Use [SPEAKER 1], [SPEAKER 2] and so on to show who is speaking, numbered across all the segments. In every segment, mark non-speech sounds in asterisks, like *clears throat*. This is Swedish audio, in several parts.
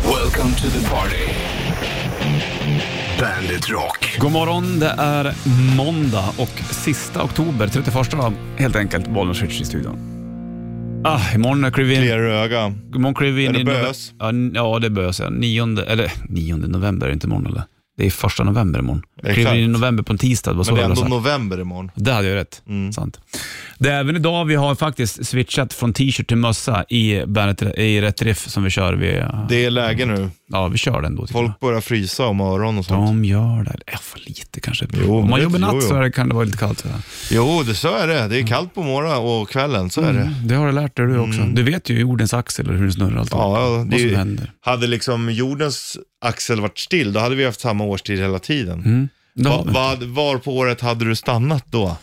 [SPEAKER 1] Welcome to the party. Bandit Rock.
[SPEAKER 2] God morgon, det är måndag och sista oktober, 31 dag, helt enkelt, Bollnäs Ritch i studion. Ah, imorgon kliver vi in...
[SPEAKER 3] Kliar i öga.
[SPEAKER 2] Imorgon kliver vi in
[SPEAKER 3] Är det
[SPEAKER 2] i nove-
[SPEAKER 3] bös?
[SPEAKER 2] Ja, n- ja, det är bös. Ja. Nionde, eller nionde november är det inte imorgon eller? Det är första november imorgon.
[SPEAKER 3] Exakt.
[SPEAKER 2] Kliver in i november på en tisdag, det var så
[SPEAKER 3] Men det är
[SPEAKER 2] jag
[SPEAKER 3] ändå Mm.
[SPEAKER 2] sa.
[SPEAKER 3] november imorgon.
[SPEAKER 2] Det hade jag rätt. Sant. Det är även idag vi har faktiskt switchat från t-shirt till mössa i, bandet, i Rätt Riff som vi kör. Vi,
[SPEAKER 3] Det är läge nu.
[SPEAKER 2] ja, vi kör den då. tycker jag.
[SPEAKER 3] Folk börjar frysa om öron och sånt.
[SPEAKER 2] De gör det. Ja, för lite kanske.
[SPEAKER 3] Jo,
[SPEAKER 2] Om man
[SPEAKER 3] det-
[SPEAKER 2] jobbar
[SPEAKER 3] jo,
[SPEAKER 2] natt så
[SPEAKER 3] jo.
[SPEAKER 2] är det, kan det vara lite kallt. Så.
[SPEAKER 3] Jo, det, så är det. Det är kallt på morgonen och kvällen. Så är det.
[SPEAKER 2] Mm, Det Mm. har du lärt dig du också. Du vet ju jordens axel och hur den snurrar och allt.
[SPEAKER 3] Ja,
[SPEAKER 2] vad
[SPEAKER 3] det
[SPEAKER 2] som
[SPEAKER 3] är,
[SPEAKER 2] händer.
[SPEAKER 3] hade liksom jordens axel varit still, då hade vi haft samma årstid hela tiden.
[SPEAKER 2] Mm. Det
[SPEAKER 3] Va,
[SPEAKER 2] har vi.
[SPEAKER 3] vad- var på året hade du stannat då?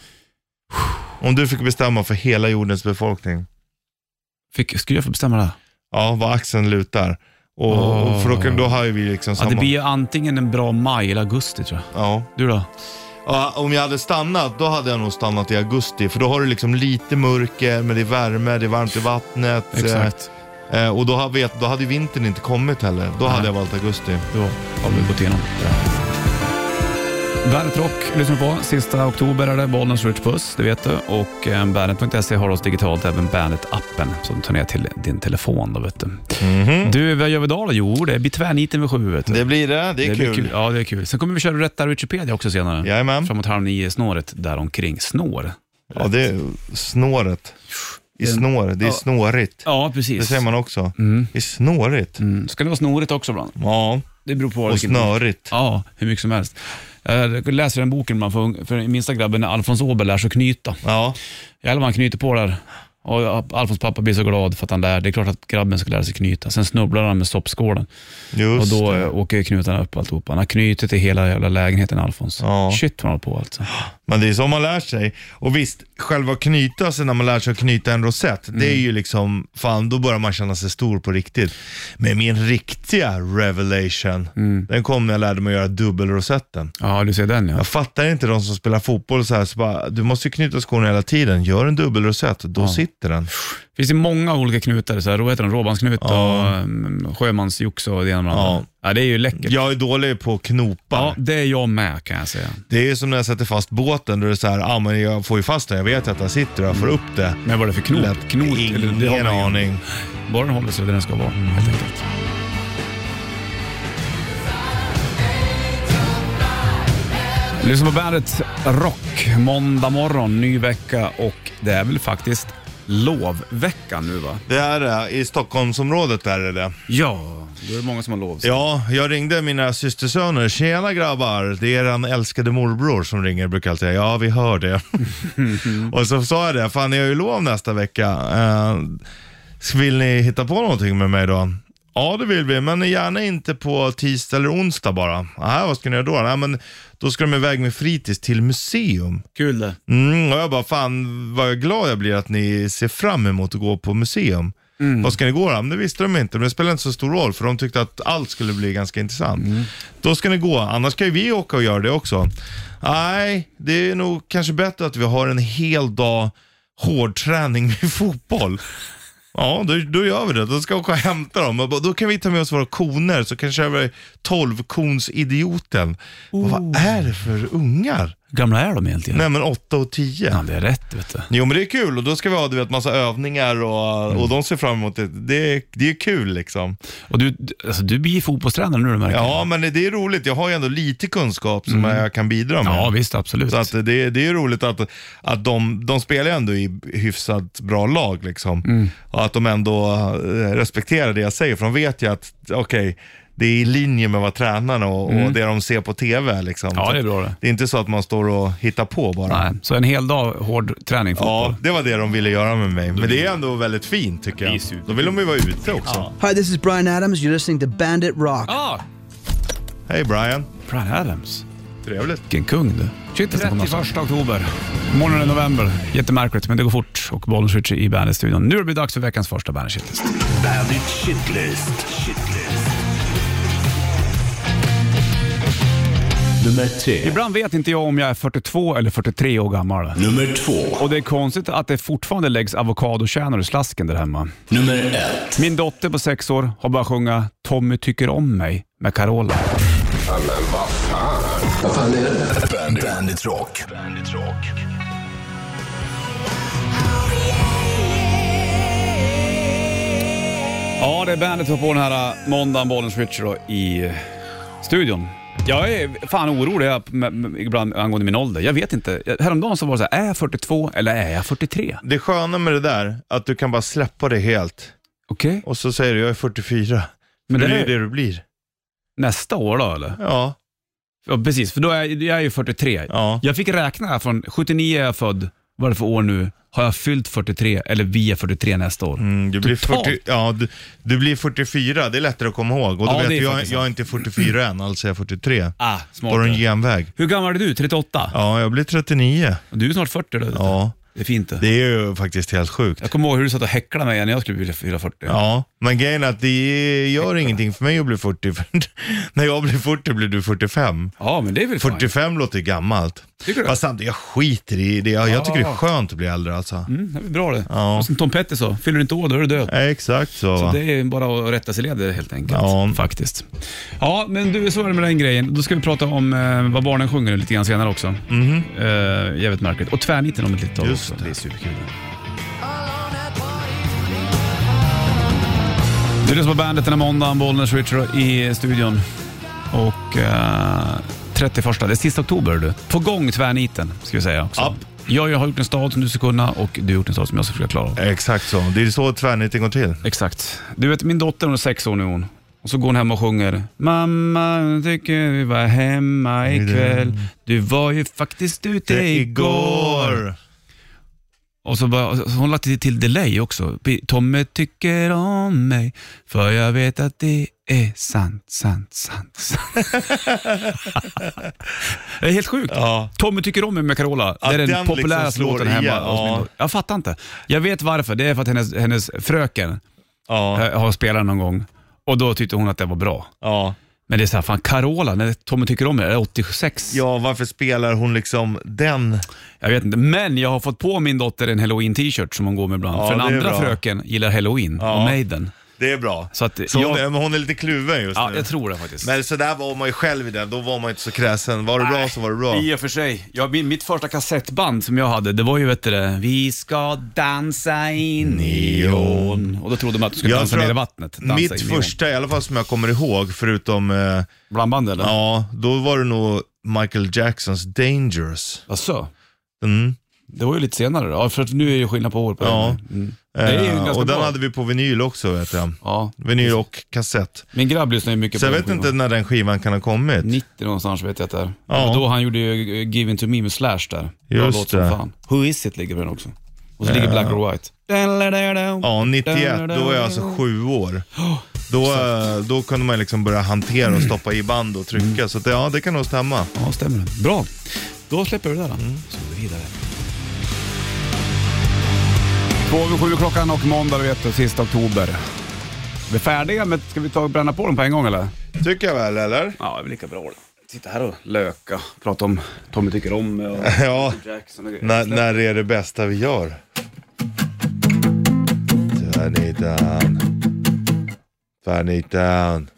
[SPEAKER 3] Om du fick bestämma för hela jordens befolkning.
[SPEAKER 2] Fick, skulle jag få bestämma det? här?
[SPEAKER 3] Ja, vad axeln lutar. Och,
[SPEAKER 2] Åh.
[SPEAKER 3] För då, kan- då har ju vi liksom
[SPEAKER 2] Ah. Ja,
[SPEAKER 3] samma...
[SPEAKER 2] det blir ju antingen en bra maj eller augusti tror jag.
[SPEAKER 3] ja.
[SPEAKER 2] Du då?
[SPEAKER 3] Ja, om jag hade stannat, då hade jag nog stannat i augusti. För då har du liksom lite mörker, men det är värme, det är varmt i vattnet.
[SPEAKER 2] Exakt.
[SPEAKER 3] Eh, eh, och då, har, vet, då hade vintern inte kommit heller. Då
[SPEAKER 2] Nej.
[SPEAKER 3] hade jag valt augusti.
[SPEAKER 2] Då har vi gått igenom Bandet Rock lyssnar du på. Sista oktober är det Bollnäs Rich Puss, det vet du. Och eh, bandet.se har oss digitalt, även Bandet-appen som tar ner till din telefon. Då, vet du. du, vad gör vi idag då? Jo, det blir tvärniten vid sju. Vet du.
[SPEAKER 3] Det blir det, det är
[SPEAKER 2] blir
[SPEAKER 3] kul.
[SPEAKER 2] Ja, det är kul. Sen kommer vi köra Rätta Wikipedia också senare.
[SPEAKER 3] Jajamän.
[SPEAKER 2] Framåt halv nio, snåret däromkring. Snår?
[SPEAKER 3] Ja, det är snåret. I snår, det är
[SPEAKER 2] Mm. Ja.
[SPEAKER 3] snårigt.
[SPEAKER 2] Ja,
[SPEAKER 3] Det
[SPEAKER 2] precis.
[SPEAKER 3] säger man också. Det är snårigt.
[SPEAKER 2] Mm. Ska det vara snorigt också ibland?
[SPEAKER 3] Ja,
[SPEAKER 2] Det beror på
[SPEAKER 3] och
[SPEAKER 2] vilken-
[SPEAKER 3] snörigt.
[SPEAKER 2] Ja, hur mycket som helst. Jag läser den boken man får, för minsta grabben när Alfons Åberg lär sig knyta.
[SPEAKER 3] Ja,
[SPEAKER 2] Jävlar vad han knyter på där. Och Alfons pappa blir så glad för att han lär. Det är klart att grabben ska lära sig knyta. Sen snubblar han med soppskålen och
[SPEAKER 3] just
[SPEAKER 2] då
[SPEAKER 3] det.
[SPEAKER 2] eh, åker knutarna upp alltihopa. Han har knutit i hela jävla lägenheten Alfons.
[SPEAKER 3] Ja.
[SPEAKER 2] Shit vad han håller på alltså.
[SPEAKER 3] Men det är så man lär sig. Och visst, själva knyta sig när man lär sig att knyta en rosett, det är
[SPEAKER 2] Mm.
[SPEAKER 3] ju liksom, fan då börjar man känna sig stor på riktigt. Men min riktiga revelation,
[SPEAKER 2] Mm.
[SPEAKER 3] den kom när jag lärde mig att göra dubbelrosetten.
[SPEAKER 2] Ja, du ser den ja.
[SPEAKER 3] Jag fattar inte de som spelar fotboll så här, så bara, du måste ju knyta skorna hela tiden. Gör en dubbelrosett, då sitter den.
[SPEAKER 2] finns det många olika knutar. Så här, vad heter den? Råbandsknut och um, sjömansjox och det ena med det
[SPEAKER 3] Ja.
[SPEAKER 2] andra. Ja, det är ju läckert.
[SPEAKER 3] Jag är dålig på knopar.
[SPEAKER 2] Ja, det är jag med kan jag säga.
[SPEAKER 3] Det är som när jag sätter fast båten, då är det så här, ah, men jag får ju fast den, jag vet att den sitter och jag får upp det.
[SPEAKER 2] Men vad är det för knot?
[SPEAKER 3] Lätt.
[SPEAKER 2] knot eller- det har
[SPEAKER 3] Ingen
[SPEAKER 2] man ju-
[SPEAKER 3] aning.
[SPEAKER 2] Bara den håller sig där den ska vara, helt enkelt. Lyssna på bandet Rock, måndag morgon, ny vecka och det är väl faktiskt lovvecka nu va?
[SPEAKER 3] Det är det, i Stockholmsområdet är det det.
[SPEAKER 2] Ja, då är det många som har lov.
[SPEAKER 3] Ja, jag ringde mina systersöner. Tjena grabbar, det är eran älskade morbror som ringer. Brukar alltid säga, ja vi hör det. och så sa jag det, fan ni har ju lov nästa vecka. Eh, vill ni hitta på någonting med mig då? Ja det vill vi, men gärna inte på tisdag eller onsdag bara. Aha, vad ska ni göra då? Nej, men då ska de iväg med fritids till museum.
[SPEAKER 2] Kul det.
[SPEAKER 3] Mm, och jag bara, fan vad glad jag blir att ni ser fram emot att gå på museum. Vad ska ni gå då? Men det visste de inte, men det spelar inte så stor roll för de tyckte att allt skulle bli ganska intressant. Då ska ni gå, annars ska ju vi åka och göra det också. Nej, det är nog kanske bättre att vi har en hel dag hårdträning med *laughs* fotboll. Ja, då, då gör vi det. Då ska jag åka och hämta dem. Och bara, Då kan vi ta med oss våra koner, så kanske över 12-konsidioten. Vad är det för ungar?
[SPEAKER 2] Hur gamla är de egentligen?
[SPEAKER 3] Nej, men 8 och 10.
[SPEAKER 2] Ja, det är rätt vet du.
[SPEAKER 3] Jo men det är kul och då ska vi ha du vet, massa övningar och,
[SPEAKER 2] Mm.
[SPEAKER 3] och de ser fram emot det. Det är, det är kul liksom.
[SPEAKER 2] Och du, alltså, du blir fotbollstränare nu du märker
[SPEAKER 3] Ja men det är roligt, jag har ju ändå lite kunskap som jag kan bidra med.
[SPEAKER 2] Mm. ja, visst absolut.
[SPEAKER 3] Så att det, är- det är roligt att, att de, de spelar ju ändå i hyfsat bra lag liksom.
[SPEAKER 2] Mm.
[SPEAKER 3] Och att de ändå eh, respekterar det jag säger för de vet ju att okej, det är i linje med vad tränarna och, och det de ser på TV liksom.
[SPEAKER 2] Mm. Ja, det är bra det.
[SPEAKER 3] Det är inte så att man står och hittar på bara.
[SPEAKER 2] Nej, så en hel dag hård träning fotboll.
[SPEAKER 3] Ja, det var det de ville göra med mig. Men det är ändå väldigt fint tycker
[SPEAKER 2] Det är
[SPEAKER 3] jag.
[SPEAKER 2] superfint.
[SPEAKER 3] Då vill de ju vara ute också.
[SPEAKER 4] Hi, this is Brian Adams. You're listening to Bandit Rock.
[SPEAKER 2] Ah,
[SPEAKER 3] Hej Brian,
[SPEAKER 2] Brian Adams.
[SPEAKER 3] trevligt.
[SPEAKER 2] Vilken kung du. Shit, 31 oktober. Morgonen är november. Jättemärkligt, men det går fort. Och bollen switchar i Bandet-studion. Nu blir det dags för veckans första Bandet Shitlist.
[SPEAKER 1] Bandit Shitlist. Shitlist. Nummer tre.
[SPEAKER 2] Ibland vet inte jag om jag är 42 eller 43 år gammal.
[SPEAKER 1] Nummer två.
[SPEAKER 2] Och det är konstigt att det fortfarande läggs avokadokärnor i slasken där hemma.
[SPEAKER 1] Nummer ett.
[SPEAKER 2] Min dotter på sex år har börjat sjunga Tommy tycker om mig med Carola.
[SPEAKER 1] Bandit, Bandit Rock. Bandit Rock.
[SPEAKER 2] Ja, det är bandet på den här äh, måndagen, Bollens Richard då, i eh, studion. Jag är fan orolig jag, med- med- ibland angående min ålder. Jag vet inte. Jag- Häromdagen så var det så här, är jag 42 eller är jag 43?
[SPEAKER 3] Det sköna med det där, att du kan bara släppa det helt.
[SPEAKER 2] Okej.
[SPEAKER 3] Och så säger du, jag är 44.
[SPEAKER 2] Men
[SPEAKER 3] Men det är
[SPEAKER 2] det
[SPEAKER 3] ju
[SPEAKER 2] är-
[SPEAKER 3] det du blir.
[SPEAKER 2] Nästa år då eller?
[SPEAKER 3] Ja,
[SPEAKER 2] Ja, precis, för då är jag, jag är ju 43.
[SPEAKER 3] ja.
[SPEAKER 2] Jag fick räkna här från 79 är jag född, vad är det för år nu? Har jag fyllt 43 eller vi är 43 nästa år?
[SPEAKER 3] Mm, du, blir
[SPEAKER 2] Totalt.
[SPEAKER 3] 40, ja du, du blir 44, det är lättare att komma ihåg. Och du
[SPEAKER 2] Ja, det
[SPEAKER 3] vet,
[SPEAKER 2] är
[SPEAKER 3] jag,
[SPEAKER 2] faktiskt
[SPEAKER 3] jag är inte 44 än, alltså är jag 43.
[SPEAKER 2] Ah, smart.
[SPEAKER 3] Då har du en genväg.
[SPEAKER 2] Hur gammal är du? 38?
[SPEAKER 3] Ja, jag blir 39.
[SPEAKER 2] Du är snart 40 eller? *laughs*
[SPEAKER 3] Ja,
[SPEAKER 2] Det är fint det.
[SPEAKER 3] det är ju faktiskt helt sjukt.
[SPEAKER 2] Jag kommer ihåg hur du satt och häcklade mig när jag skulle bli fylla 40.
[SPEAKER 3] Ja, men grejen är att det gör ingenting för mig att bli 40. För *laughs* när jag blir 40 blir du 45.
[SPEAKER 2] Ja, men det är väl fint.
[SPEAKER 3] 45 låter gammalt.
[SPEAKER 2] Tycker du?
[SPEAKER 3] Fast samtidigt, jag skiter i det. Jag, jag tycker det är
[SPEAKER 2] Ja.
[SPEAKER 3] skönt att bli äldre alltså.
[SPEAKER 2] Mm, det är väl bra det.
[SPEAKER 3] Ja.
[SPEAKER 2] Och som Tom Petty sa, fyller du inte år då är du död.
[SPEAKER 3] Ja, exakt så.
[SPEAKER 2] Så
[SPEAKER 3] va?
[SPEAKER 2] det är bara att rätta sig i ledet helt enkelt.
[SPEAKER 3] Ja.
[SPEAKER 2] Faktiskt. Ja, men du, så är det med den grejen. Då ska vi prata om eh, vad barnen sjunger lite grann senare också. Mm. Eh, jävligt märkligt. Och tvärniten om ett litet tag
[SPEAKER 3] Mhm. Just
[SPEAKER 2] också.
[SPEAKER 3] det.
[SPEAKER 2] Det är superkul. Du lyssnar på bandet den här måndagen, Bollnäs Richard i studion. Och eh, 31, det är sista oktober du. På gång tvärniten, ska vi säga också.
[SPEAKER 3] Ja.
[SPEAKER 2] Jag, jag har gjort en stad som du ska kunna och du har gjort en stad som jag ska försöka klara av.
[SPEAKER 3] Exakt så. Det är så tvärniten går till.
[SPEAKER 2] Exakt. Du vet, min dotter hon är sex år nu hon. Och så går hon hem och sjunger Mamma, jag tycker vi var hemma ikväll. Du var ju faktiskt ute igår. Och så bara, och så hon lade till- till delay också. Tommy tycker om mig, för jag vet att det är sant, sant, sant, *laughs* sant. det är helt sjukt.
[SPEAKER 3] Ja.
[SPEAKER 2] Tommy tycker om mig med Carola. Det
[SPEAKER 3] Att
[SPEAKER 2] är den,
[SPEAKER 3] den
[SPEAKER 2] populäraste
[SPEAKER 3] liksom slår
[SPEAKER 2] låten hemma.
[SPEAKER 3] igen,
[SPEAKER 2] hos min
[SPEAKER 3] ja.
[SPEAKER 2] dotter. Jag fattar inte. Jag vet varför. Det är för att hennes, hennes fröken
[SPEAKER 3] Ja.
[SPEAKER 2] eh, har spelat någon gång och då tyckte hon att det var bra.
[SPEAKER 3] Ja.
[SPEAKER 2] Men det är så här, fan Carola, när Tommy tycker om mig, är 86?
[SPEAKER 3] ja, varför spelar hon liksom den?
[SPEAKER 2] Jag vet inte, men jag har fått på min dotter en halloween-t-shirt som hon går med ibland.
[SPEAKER 3] Ja,
[SPEAKER 2] För den
[SPEAKER 3] det är
[SPEAKER 2] andra
[SPEAKER 3] bra.
[SPEAKER 2] fröken gillar halloween och Maiden.
[SPEAKER 3] Det är bra.
[SPEAKER 2] Så att
[SPEAKER 3] Så
[SPEAKER 2] jag-
[SPEAKER 3] hon, är- men hon är lite kluven just
[SPEAKER 2] Ja,
[SPEAKER 3] nu.
[SPEAKER 2] jag tror det faktiskt.
[SPEAKER 3] Men så där var man ju själv i den, då var man inte så kräsen. Var det bra så var det bra.
[SPEAKER 2] I och för sig. Jag, min, mitt första kassettband som jag hade, det var ju vet du det, Vi ska dansa i neon. Och då trodde man att du skulle dansa
[SPEAKER 3] tror
[SPEAKER 2] ner i
[SPEAKER 3] att
[SPEAKER 2] vattnet. Dansa i
[SPEAKER 3] mitt
[SPEAKER 2] neon.
[SPEAKER 3] första, i alla fall som jag kommer ihåg, förutom, eh,
[SPEAKER 2] Blandband eller?
[SPEAKER 3] ja, då var det nog Michael Jacksons Dangerous.
[SPEAKER 2] Asså?
[SPEAKER 3] Mm.
[SPEAKER 2] Det var ju lite senare då. Ja, för att nu är det ju skillnad på år på
[SPEAKER 3] Ja.
[SPEAKER 2] det. Mm. Det är ju
[SPEAKER 3] Eh,
[SPEAKER 2] ganska
[SPEAKER 3] och den
[SPEAKER 2] bra.
[SPEAKER 3] hade vi på vinyl också vet jag.
[SPEAKER 2] Ja.
[SPEAKER 3] Vinyl och kassett.
[SPEAKER 2] Min grabb lyssnar ju mycket
[SPEAKER 3] Så jag
[SPEAKER 2] på den
[SPEAKER 3] vet
[SPEAKER 2] skivan.
[SPEAKER 3] inte när den skivan kan ha kommit.
[SPEAKER 2] 90 någonstans vet jag att det är.
[SPEAKER 3] Ja.
[SPEAKER 2] Och då han gjorde ju eh, Give In To Me med Slash där. Bra
[SPEAKER 3] Just
[SPEAKER 2] låt som
[SPEAKER 3] det.
[SPEAKER 2] Fan. Who Is It ligger på den också. Och så ligger Black or White.
[SPEAKER 3] Ja, 91, då var jag alltså sju år.
[SPEAKER 2] Oh,
[SPEAKER 3] Då, eh, då kunde man liksom börja hantera och stoppa i band och trycka.
[SPEAKER 2] Mm.
[SPEAKER 3] Så att, ja, det kan nog stämma.
[SPEAKER 2] Ja, stämmer det. Bra. Då släpper vi det där. då.
[SPEAKER 3] Mm.
[SPEAKER 2] Så går vi vidare. Två över sju klockan och måndag, du vet du, sista oktober. Vi är färdiga, men ska vi ta och bränna på dem på en gång eller?
[SPEAKER 3] Tycker jag väl, eller? *laughs*
[SPEAKER 2] Ja, det är väl lika bra. Sitta här och löka, prata om Tommy tycker om mig *laughs* och
[SPEAKER 3] Ja.
[SPEAKER 2] Jackson och
[SPEAKER 3] När, när är det bästa vi gör? Turn it down. Turn it down.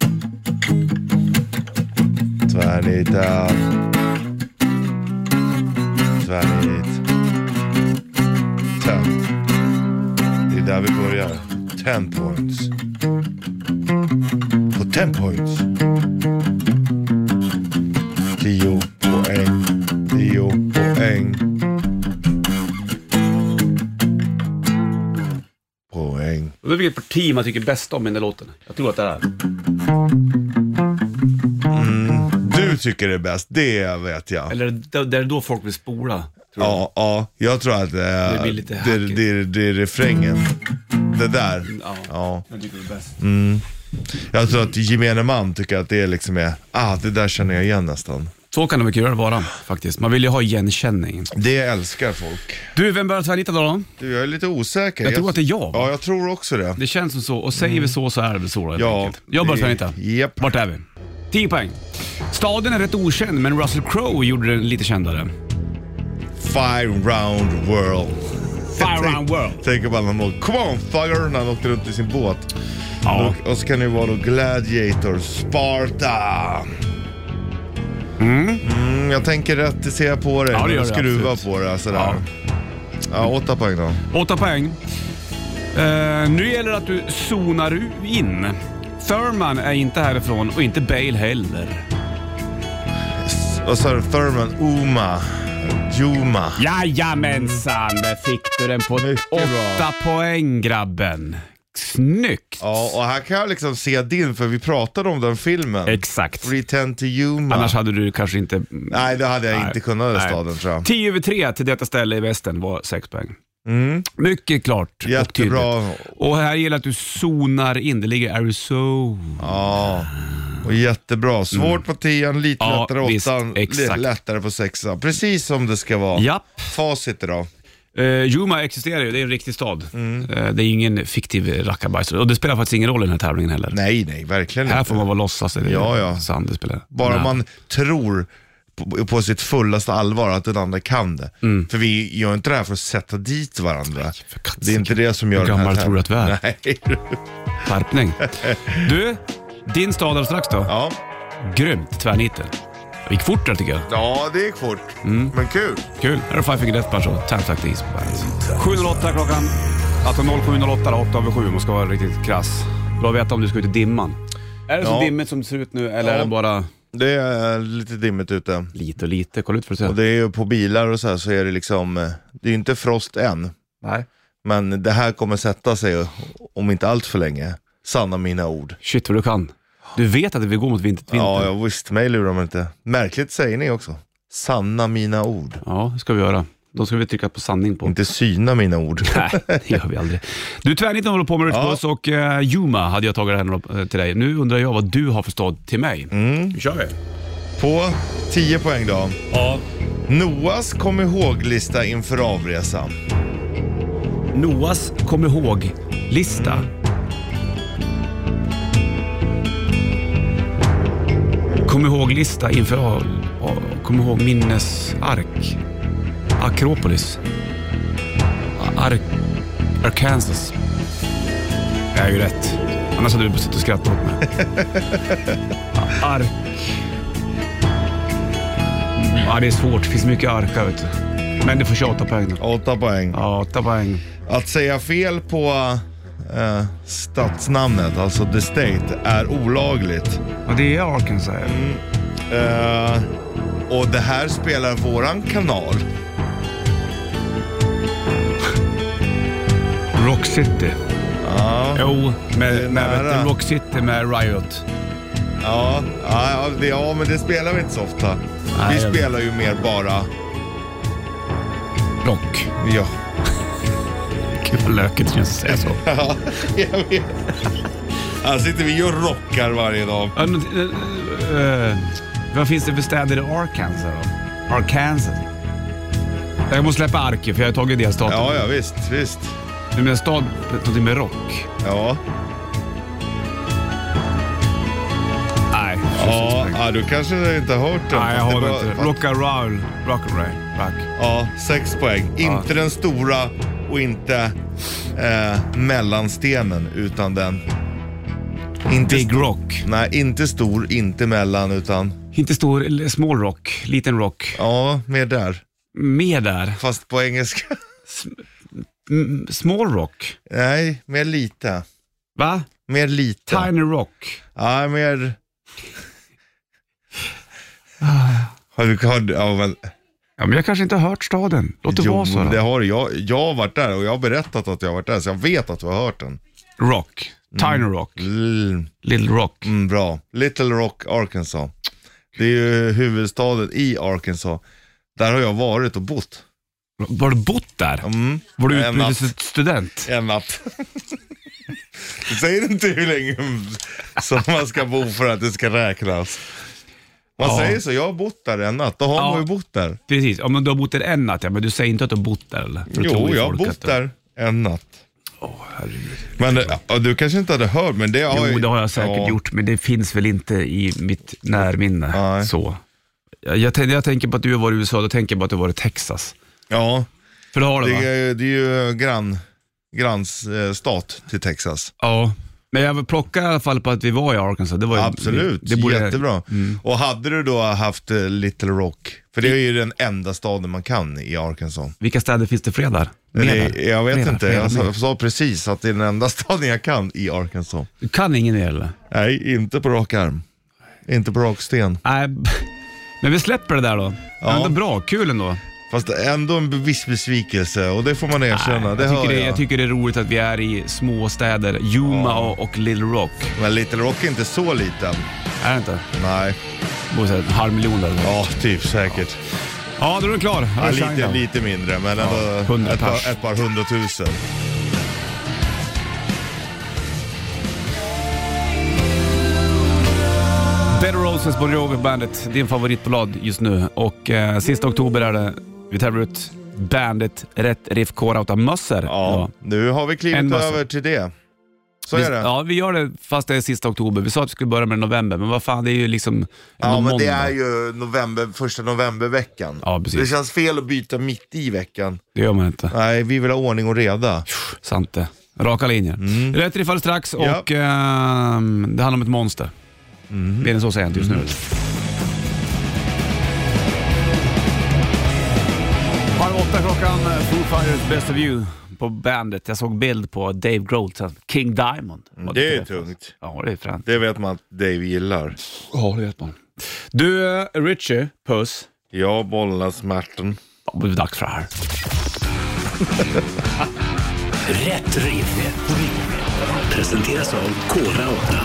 [SPEAKER 3] Turn it down. Turn it. Turn. Det är där vi börjar. 10 points. På 10 points. 10 poäng. 10 poäng. Poäng.
[SPEAKER 2] Undrar vilket parti man tycker bäst om i den där låten. Jag tror att det är.
[SPEAKER 3] Du tycker det är bäst, det vet jag.
[SPEAKER 2] Eller där det är då folk vill spola. Tror jag.
[SPEAKER 3] Ja, ja, jag tror att eh, det,
[SPEAKER 2] blir lite
[SPEAKER 3] det,
[SPEAKER 2] hackigt.
[SPEAKER 3] det, är refrängen. Det där.
[SPEAKER 2] Ja. Mm.
[SPEAKER 3] Ja.
[SPEAKER 2] Den tycker vi är bäst.
[SPEAKER 3] Jag tror att gemene man tycker att det liksom är, ah det där känner jag igen nästan.
[SPEAKER 2] Så kan det mycket göra vara faktiskt. Man vill ju ha igenkänning.
[SPEAKER 3] Det älskar folk.
[SPEAKER 2] Du, vem börjar tvärnita då? då?
[SPEAKER 3] Du, jag är lite osäker.
[SPEAKER 2] Jag tror att det är jag.
[SPEAKER 3] Ja, jag tror också det.
[SPEAKER 2] Det känns som så och säger vi så så är Mm. det väl så då, helt
[SPEAKER 3] Ja,
[SPEAKER 2] enkelt. Jag börjar
[SPEAKER 3] det-
[SPEAKER 2] tvärnita.
[SPEAKER 3] japp.
[SPEAKER 2] Vart är vi? 10 poäng. Staden är rätt okänd, men Russell Crowe gjorde den lite kändare.
[SPEAKER 3] Fire round world.
[SPEAKER 2] Fire Round World.
[SPEAKER 3] Tänk om alla mål. Come on fire när han åkte runt i sin båt.
[SPEAKER 2] Ja.
[SPEAKER 3] Och, och så kan det ju vara då Gladiator, Sparta. Mm, jag tänker rätt, det ser jag på dig.
[SPEAKER 2] Ja, det
[SPEAKER 3] Men
[SPEAKER 2] gör
[SPEAKER 3] du
[SPEAKER 2] det,
[SPEAKER 3] skruvar
[SPEAKER 2] absolut.
[SPEAKER 3] på det sådär.
[SPEAKER 2] Ja.
[SPEAKER 3] Ja. åtta poäng då.
[SPEAKER 2] Åtta poäng. Eh, nu gäller det att du zonar in. Thurman är inte härifrån och inte Bale heller.
[SPEAKER 3] S- Vad sa du? Thurman, Uma, Juma.
[SPEAKER 2] Jajamensan, där fick du den på
[SPEAKER 3] Mycket bra.
[SPEAKER 2] åtta poäng grabben. Snyggt!
[SPEAKER 3] Ja, och här kan jag liksom se din, för vi pratade om den filmen.
[SPEAKER 2] Exakt.
[SPEAKER 3] Return to Yuma.
[SPEAKER 2] Annars hade du kanske inte...
[SPEAKER 3] Nej, det hade jag
[SPEAKER 2] Nej.
[SPEAKER 3] inte kunnat den
[SPEAKER 2] Nej.
[SPEAKER 3] staden tror jag.
[SPEAKER 2] 10 över 3 till detta ställe i västen var 6 poäng. Mycket klart och tydligt.
[SPEAKER 3] Mm. Jättebra.
[SPEAKER 2] Och här gäller att du zonar in. Det ligger Arizona.
[SPEAKER 3] Ja, och jättebra. Svårt på tian, lite
[SPEAKER 2] Mm. Ja,
[SPEAKER 3] lättare
[SPEAKER 2] visst,
[SPEAKER 3] åttan, lite
[SPEAKER 2] exakt.
[SPEAKER 3] lättare på sexan. Precis som det ska vara.
[SPEAKER 2] Japp.
[SPEAKER 3] Facit idag.
[SPEAKER 2] Eh, Yuma existerar ju, det är en riktig stad.
[SPEAKER 3] Mm.
[SPEAKER 2] Eh, det är ju ingen fiktiv rackarbajsare. Och det spelar faktiskt ingen roll i den här tävlingen heller.
[SPEAKER 3] Nej, nej, verkligen
[SPEAKER 2] Här
[SPEAKER 3] inte.
[SPEAKER 2] får man vara låtsas. Det är
[SPEAKER 3] Ja, ja.
[SPEAKER 2] Sant, det spelar.
[SPEAKER 3] Bara
[SPEAKER 2] Nej.
[SPEAKER 3] man tror på, på sitt fullaste allvar att den andra kan det. För vi gör inte det här för att sätta dit varandra.
[SPEAKER 2] Mm. för katten.
[SPEAKER 3] Det är inte det som gör
[SPEAKER 2] Hur
[SPEAKER 3] den här
[SPEAKER 2] gammal tror du att vi är?
[SPEAKER 3] tävlingen. *laughs* Nej. *laughs*
[SPEAKER 2] Skärpning. Du, din stad alldeles strax då.
[SPEAKER 3] Ja.
[SPEAKER 2] Grymt, tvärniten. Det gick fort där tycker jag.
[SPEAKER 3] ja, det gick fort.
[SPEAKER 2] Mm.
[SPEAKER 3] Men kul.
[SPEAKER 2] Kul. Här är Five Finger Death Punch och Time Suck These på bandet. 7.08 klockan. Alltså 18.07.08, 8 över 7 om man ska vara riktigt krass. Bra att veta om du ska ut i dimman. Är det så
[SPEAKER 3] Ja.
[SPEAKER 2] dimmigt som det ser ut nu eller
[SPEAKER 3] Ja.
[SPEAKER 2] är det bara
[SPEAKER 3] Det är lite dimmigt ute.
[SPEAKER 2] lite och lite? Kolla ut för att se.
[SPEAKER 3] Och det är ju på bilar och så här så är det liksom, eh, det är ju inte frost än.
[SPEAKER 2] Nej.
[SPEAKER 3] Men det här kommer sätta sig om inte allt för länge. Sanna mina ord.
[SPEAKER 2] Shit vad du kan. Du vet att vi går mot vinter. vinter.
[SPEAKER 3] Ja, jag visst, mig lurar de inte. Märkligt sägning också. Sanna mina ord.
[SPEAKER 2] ja, det ska vi göra. Då ska vi trycka på sanning på.
[SPEAKER 3] Inte syna mina ord.
[SPEAKER 2] Nej, det gör vi aldrig. Du, tvärnitten håller på med
[SPEAKER 3] Ja.
[SPEAKER 2] Rutbuss och uh, Yuma hade jag tagit här eh, till dig. Nu undrar jag vad du har för stad till mig. Nu kör vi.
[SPEAKER 3] På 10 poäng då.
[SPEAKER 2] Ja.
[SPEAKER 3] Noas kom ihåg-lista inför avresan.
[SPEAKER 2] Noas kom ihåg-lista. Kom ihåg-lista inför... ja, ja, Kom ihåg minnesark. Akropolis. Ark... Arkansas. Jag är ju rätt. Annars hade du suttit och skrattat åt mig. Ark... Ja, det är svårt. Det finns mycket arkar, vet du. Men du får 28 poäng då.
[SPEAKER 3] 8 poäng.
[SPEAKER 2] Ja, 8 poäng.
[SPEAKER 3] Att säga fel på eh, stadsnamnet, alltså the state, är olagligt.
[SPEAKER 2] Och det är Arkansas.
[SPEAKER 3] Eh, och det här spelar våran kanal.
[SPEAKER 2] Rock City.
[SPEAKER 3] Ja, ja,
[SPEAKER 2] Jo,
[SPEAKER 3] Det är
[SPEAKER 2] med, med
[SPEAKER 3] nära.
[SPEAKER 2] vet du, Rock City med Riot.
[SPEAKER 3] ja, ja, det, ja, men det spelar vi inte så ofta.
[SPEAKER 2] Nej, jag
[SPEAKER 3] vi
[SPEAKER 2] vet.
[SPEAKER 3] spelar ju mer bara,
[SPEAKER 2] Rock.
[SPEAKER 3] ja. *laughs*
[SPEAKER 2] Gud vad löket känns att säga så.
[SPEAKER 3] Ja, jag vet. Här sitter vi och rockar varje dag.
[SPEAKER 2] *laughs* Ja, men, eh, eh, vad finns det för städer i Arkansas då? Arkansas? Jag måste släppa Arke för jag har tagit delstaten.
[SPEAKER 3] Ja, ja, visst, visst.
[SPEAKER 2] Du menar stad, någonting med rock?
[SPEAKER 3] Ja,
[SPEAKER 2] Nej.
[SPEAKER 3] ja, ja du kanske inte har hört den.
[SPEAKER 2] Nej, jag
[SPEAKER 3] fast
[SPEAKER 2] har
[SPEAKER 3] det
[SPEAKER 2] inte
[SPEAKER 3] var-
[SPEAKER 2] det. Rock and roll. Rock and roll. Rock.
[SPEAKER 3] Ja, sex poäng. Inte den stora och inte eh, mellanstenen, utan den... Inte
[SPEAKER 2] Big rock.
[SPEAKER 3] Nej, inte stor, inte mellan, utan
[SPEAKER 2] Inte stor, eller small rock. Liten rock.
[SPEAKER 3] ja, mer där.
[SPEAKER 2] Mer där.
[SPEAKER 3] Fast på engelska. *laughs*
[SPEAKER 2] Mm, small rock.
[SPEAKER 3] Nej, mer lite.
[SPEAKER 2] Va?
[SPEAKER 3] Mer lite.
[SPEAKER 2] Tiny rock.
[SPEAKER 3] Ja, mer...
[SPEAKER 2] Ah,
[SPEAKER 3] Har du hört? Ja, men...
[SPEAKER 2] Ja, men jag kanske inte har hört staden. Låt det
[SPEAKER 3] Jo,
[SPEAKER 2] vara så då.
[SPEAKER 3] det har du. jag. Jag har varit där och jag har berättat att jag har varit där, så jag vet att du har hört den.
[SPEAKER 2] Rock. Tiny
[SPEAKER 3] Mm.
[SPEAKER 2] Rock.
[SPEAKER 3] L-
[SPEAKER 2] Little Rock.
[SPEAKER 3] Mm, bra. Little Rock, Arkansas. Det är ju huvudstaden i Arkansas. Där har jag varit och bott.
[SPEAKER 2] Var du bott där?
[SPEAKER 3] Mm.
[SPEAKER 2] Var du
[SPEAKER 3] En natt.
[SPEAKER 2] utbytesstudent?
[SPEAKER 3] En natt. Säger inte hur länge som man ska bo för att det ska räknas. Man
[SPEAKER 2] Ja.
[SPEAKER 3] säger så, jag har bott där en natt. Då har
[SPEAKER 2] Ja.
[SPEAKER 3] man ju bott där.
[SPEAKER 2] Precis. Ja, men du har bott där en natt, ja, men du säger inte att du har bott där eller? För då tror
[SPEAKER 3] Jo,
[SPEAKER 2] ju
[SPEAKER 3] jag har
[SPEAKER 2] folk att
[SPEAKER 3] bott
[SPEAKER 2] du-
[SPEAKER 3] där en natt.
[SPEAKER 2] Åh, herregud.
[SPEAKER 3] Men eh, ja, du kanske inte hade hört, men det har
[SPEAKER 2] Jo, det har jag säkert
[SPEAKER 3] ja.
[SPEAKER 2] gjort, men det finns väl inte i mitt närminne.
[SPEAKER 3] Nej.
[SPEAKER 2] Så. Jag, jag, tän- jag tänker på att du har varit i USA, då tänker jag på att du har varit i Texas.
[SPEAKER 3] Ja,
[SPEAKER 2] För det har du
[SPEAKER 3] det
[SPEAKER 2] va?
[SPEAKER 3] är, det är ju grann, grannstat till Texas.
[SPEAKER 2] Ja. Men jag plockar i alla fall på att vi var i Arkansas. Det var ju,
[SPEAKER 3] Absolut,
[SPEAKER 2] det, det borde- Mm.
[SPEAKER 3] jättebra. Och hade du då haft eh, Little Rock, för det är ju den enda staden man kan i Arkansas.
[SPEAKER 2] Vilka städer finns det fler där? Mer
[SPEAKER 3] Eller, eh,
[SPEAKER 2] där?
[SPEAKER 3] jag vet
[SPEAKER 2] Mer där?
[SPEAKER 3] inte, Alltså,
[SPEAKER 2] Mer där?
[SPEAKER 3] jag
[SPEAKER 2] Mer
[SPEAKER 3] sa,
[SPEAKER 2] där?
[SPEAKER 3] sa precis att det är den enda *laughs* staden jag kan i Arkansas.
[SPEAKER 2] Du kan ingen mer eller?
[SPEAKER 3] Nej, inte på rak arm. Inte på rak sten.
[SPEAKER 2] Nej, *laughs* men vi släpper det där då.
[SPEAKER 3] Ja.
[SPEAKER 2] Ändå bra, kul ändå.
[SPEAKER 3] Fast ändå en viss besvikelse och det får man erkänna, det
[SPEAKER 2] jag,
[SPEAKER 3] hör
[SPEAKER 2] tycker det,
[SPEAKER 3] jag.
[SPEAKER 2] jag tycker det är roligt att vi är i små städer, Yuma
[SPEAKER 3] Ja.
[SPEAKER 2] och, och Little Rock.
[SPEAKER 3] Men Little Rock är inte så liten.
[SPEAKER 2] Är det inte?
[SPEAKER 3] Nej,
[SPEAKER 2] Det bor så här en halv miljon där. Ja,
[SPEAKER 3] ja typ säkert.
[SPEAKER 2] ja då är du klar.
[SPEAKER 3] Ja,
[SPEAKER 2] Här är
[SPEAKER 3] lite,
[SPEAKER 2] Shinedown.
[SPEAKER 3] lite mindre, men ändå
[SPEAKER 2] hundra
[SPEAKER 3] ett,
[SPEAKER 2] pers.
[SPEAKER 3] par, ett par hundratusen.
[SPEAKER 2] Dead Roses på Rover Bandet, din favoritbolag just nu. Och eh, sista oktober är det. Vi tävlar ut Bandet Rätt Riff Core-Outa-mössor.
[SPEAKER 3] Ja, nu har vi
[SPEAKER 2] En
[SPEAKER 3] klivit
[SPEAKER 2] massa.
[SPEAKER 3] över till det. Så
[SPEAKER 2] vi,
[SPEAKER 3] är det. Ja,
[SPEAKER 2] Ja, vi gör det fast det är sista oktober. Vi sa att vi skulle börja med november, men vad fan, det är ju liksom ändå
[SPEAKER 3] men
[SPEAKER 2] måndag.
[SPEAKER 3] det är ju november, första novemberveckan.
[SPEAKER 2] Ja, precis.
[SPEAKER 3] det känns fel att byta mitt i veckan.
[SPEAKER 2] Det gör man inte.
[SPEAKER 3] Nej, vi vill ha ordning och reda.
[SPEAKER 2] Sant det. Raka linjer. Rätt riff alldeles strax och
[SPEAKER 3] Mm. Ja.
[SPEAKER 2] ehm, det handlar om ett monster.
[SPEAKER 3] Mm.
[SPEAKER 2] Mer än så säger jag inte just nu. Halv åtta klockan, Foo Fighters Best of You på bandet. Jag såg bild på Dave Grohl, så här, King Diamond. Vad
[SPEAKER 3] Mm, Det är
[SPEAKER 2] för-
[SPEAKER 3] tungt.
[SPEAKER 2] Ja, det är fränt.
[SPEAKER 3] Det vet man att Dave gillar.
[SPEAKER 2] Ja, det vet man. Du, eh, Richie, puss.
[SPEAKER 3] Ja, bollarna smärten.
[SPEAKER 2] Ja, Det är dags för det här.
[SPEAKER 1] Rätt riff. Presenteras av Kora 8.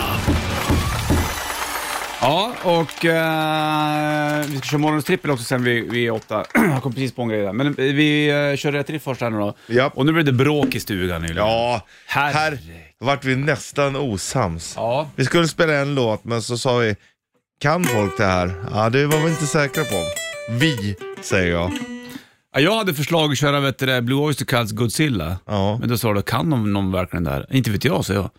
[SPEAKER 2] Ja, och eh, vi ska köra morgonens trippel också sen vid, vid åtta. *clears throat* Jag kom precis på en grej där. Men eh, vi eh, kör rätt riff först här nu då.
[SPEAKER 3] Japp.
[SPEAKER 2] Och nu blev det bråk i stugan nyligen.
[SPEAKER 3] Ja,
[SPEAKER 2] Herre-
[SPEAKER 3] här vart vi nästan osams.
[SPEAKER 2] Ja.
[SPEAKER 3] Vi skulle spela en låt, men så sa vi, kan folk det här? Ja, det var vi inte säkra på. Vi, säger jag.
[SPEAKER 2] Ja, Jag hade förslag att köra vet du, det, Blue Oyster Cults Godzilla.
[SPEAKER 3] Ja.
[SPEAKER 2] Men då sa du, kan någon, någon verkligen det här? Inte vet jag, sa jag.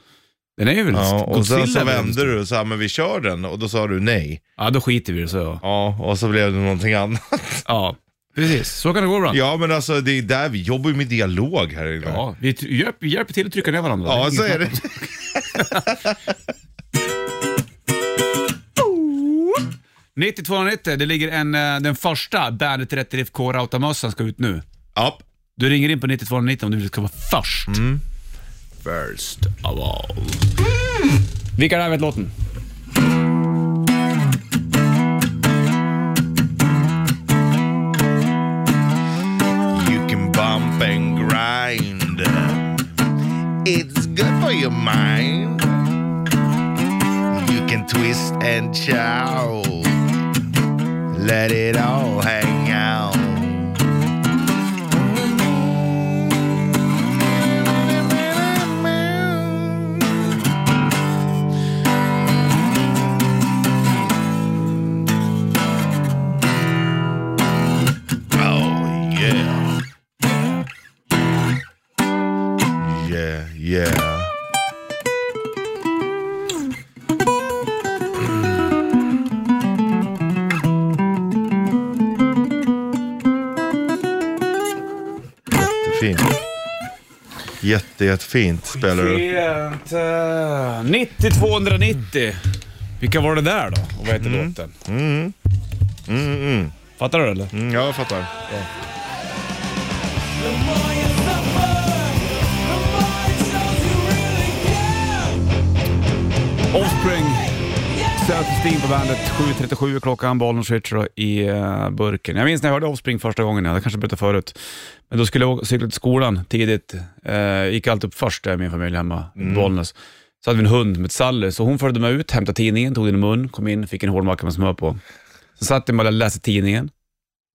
[SPEAKER 2] Den är ju väl
[SPEAKER 3] Ja, och
[SPEAKER 2] Godzilla
[SPEAKER 3] sen
[SPEAKER 2] är
[SPEAKER 3] så
[SPEAKER 2] väl-
[SPEAKER 3] vände du och sa, men vi kör den. Och då sa du nej.
[SPEAKER 2] Ja, då skiter vi i det, sa jag.
[SPEAKER 3] Ja, och så blev det någonting annat.
[SPEAKER 2] Ja, precis. Så kan det gå ibland.
[SPEAKER 3] Ja, men alltså det är där vi jobbar ju med dialog här idag.
[SPEAKER 2] Ja, vi t- hjälper, hjälper till att trycka ner varandra.
[SPEAKER 3] Ja,
[SPEAKER 2] Inget
[SPEAKER 3] så är det.
[SPEAKER 2] snack om det. 9290, det ligger en, eh, den första Bandet 30 Riff K-Rauta-mössan ska ut nu.
[SPEAKER 3] Ja.
[SPEAKER 2] Du ringer in på 9290 om du vill ska vara först. First of all. Vilka är det här vet låten?
[SPEAKER 3] You can bump and grind. It's good for your mind. You can twist and chow. Let it all hang out. Oh, yeah. Yeah, yeah. Jättefint. Jätte, jättefint spelar du.
[SPEAKER 2] 9290. eh, Vilka var det där då? Och vad heter låten? Fattar du eller?
[SPEAKER 3] Mm, ja, jag fattar. Ja.
[SPEAKER 2] Offspring, Self-Esteem på bandet. 7.37 är klockan, bollen switcher i eh, burken. Jag minns när jag hörde Offspring första gången, jag kanske berättade förut. Men då skulle jag åka- cykla till skolan tidigt. Eh, gick allt upp först där i min familj hemma i Bollnäs. Så hade vi en hund med ett Sally, så hon följde mig ut, hämtade tidningen, tog den i mun, kom in, fick en hårdmacka med smör på. Sen satt jag med och läste tidningen,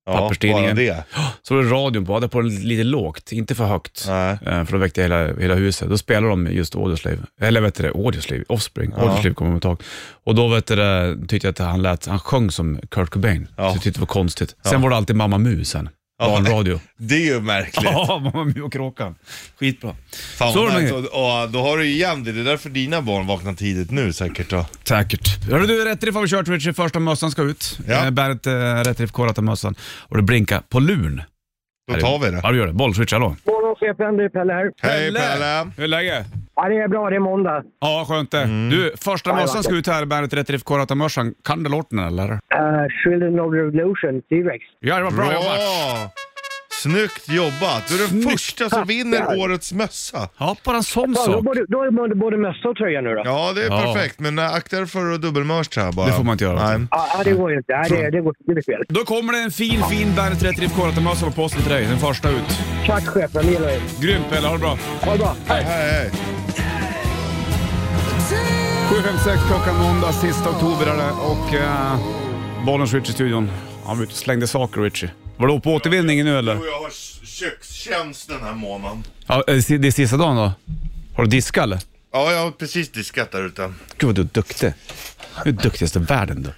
[SPEAKER 2] Papperstidningen.
[SPEAKER 3] bara det.
[SPEAKER 2] så var det radion på, jag hade på den lite lågt, inte för högt.
[SPEAKER 3] Nej.
[SPEAKER 2] Eh, För då väckte jag hela, hela huset. Då spelade de just Audioslave, eller vet du det, Audioslave, Offspring.
[SPEAKER 3] Ja.
[SPEAKER 2] Audioslave kommer jag ihåg. Och då vet du det, tyckte jag att han lät, han sjöng som Kurt Cobain.
[SPEAKER 3] Ja.
[SPEAKER 2] Så jag tyckte det var konstigt.
[SPEAKER 3] Ja.
[SPEAKER 2] Sen var det alltid Mamma Mu sen.
[SPEAKER 3] *laughs*
[SPEAKER 2] Barnradio.
[SPEAKER 3] Det är ju märkligt.
[SPEAKER 2] Ja, Mamma Mia och Kråkan. Skitbra.
[SPEAKER 3] Fan,
[SPEAKER 2] Så
[SPEAKER 3] vad
[SPEAKER 2] är det
[SPEAKER 3] nice.
[SPEAKER 2] med-
[SPEAKER 3] och, och, då har du ju igen det. Det är därför dina barn vaknar tidigt nu säkert. Då.
[SPEAKER 2] Säkert. Hörru du, rätt riff har vi kört Richie. Första mössan ska ut.
[SPEAKER 3] Ja.
[SPEAKER 2] Ja. Bäret eh, rätt riff kollat av mössan. Och det blinkar på luren.
[SPEAKER 3] Då tar vi det.
[SPEAKER 2] Ja, du gör det. Boll, switch, hallå.
[SPEAKER 5] Morgon chefen, det är Pelle här.
[SPEAKER 3] Hej Pelle! Mm.
[SPEAKER 2] Hur är läget?
[SPEAKER 5] Ja, det är bra, det är måndag.
[SPEAKER 2] Ja, skönt det. Du, första mössan ska ut här. Bäret rätt riff kollat av mössan. Kan du låten eller?
[SPEAKER 5] Uh, Children of the Revolution, T-Rex.
[SPEAKER 2] Ja, det var bra, jobbat.
[SPEAKER 3] Bra! Snyggt jobbat! Du är den
[SPEAKER 2] Snyggt.
[SPEAKER 3] första som vinner årets mössa.
[SPEAKER 2] Ja, bara en sån
[SPEAKER 5] Ja, då,
[SPEAKER 2] sak.
[SPEAKER 5] både, då är det både, både mössa och tröja nu då? Ja,
[SPEAKER 3] Ja, det är
[SPEAKER 2] Ja.
[SPEAKER 3] perfekt, men äh, akta dig för att dubbelmörsa här bara.
[SPEAKER 2] Det får man inte göra.
[SPEAKER 3] Nej.
[SPEAKER 5] ja det går ju inte. Ja, det, det, går, det blir fel.
[SPEAKER 2] Då kommer det en fin, fin Bäret rätt riff kollat av mössa på posten till dig. Den första ut.
[SPEAKER 5] Tack chefen, det gillar jag.
[SPEAKER 2] Grymt Pelle, ha det bra.
[SPEAKER 5] Ha det bra.
[SPEAKER 3] Hej, hej.
[SPEAKER 2] 7.56 klockan måndag, sista oktober är det och uh, bollens Richie i studion. Han var ute och slängde saker Richie. Var du på återvinningen nu eller?
[SPEAKER 3] jag har kökstjänst den här månaden.
[SPEAKER 2] Ja, eh, si- det är sista dagen då. Har du diskat eller?
[SPEAKER 3] Ja, jag har precis diskat där ute.
[SPEAKER 2] Gud vad du är duktig. Du är duktigast i världen du.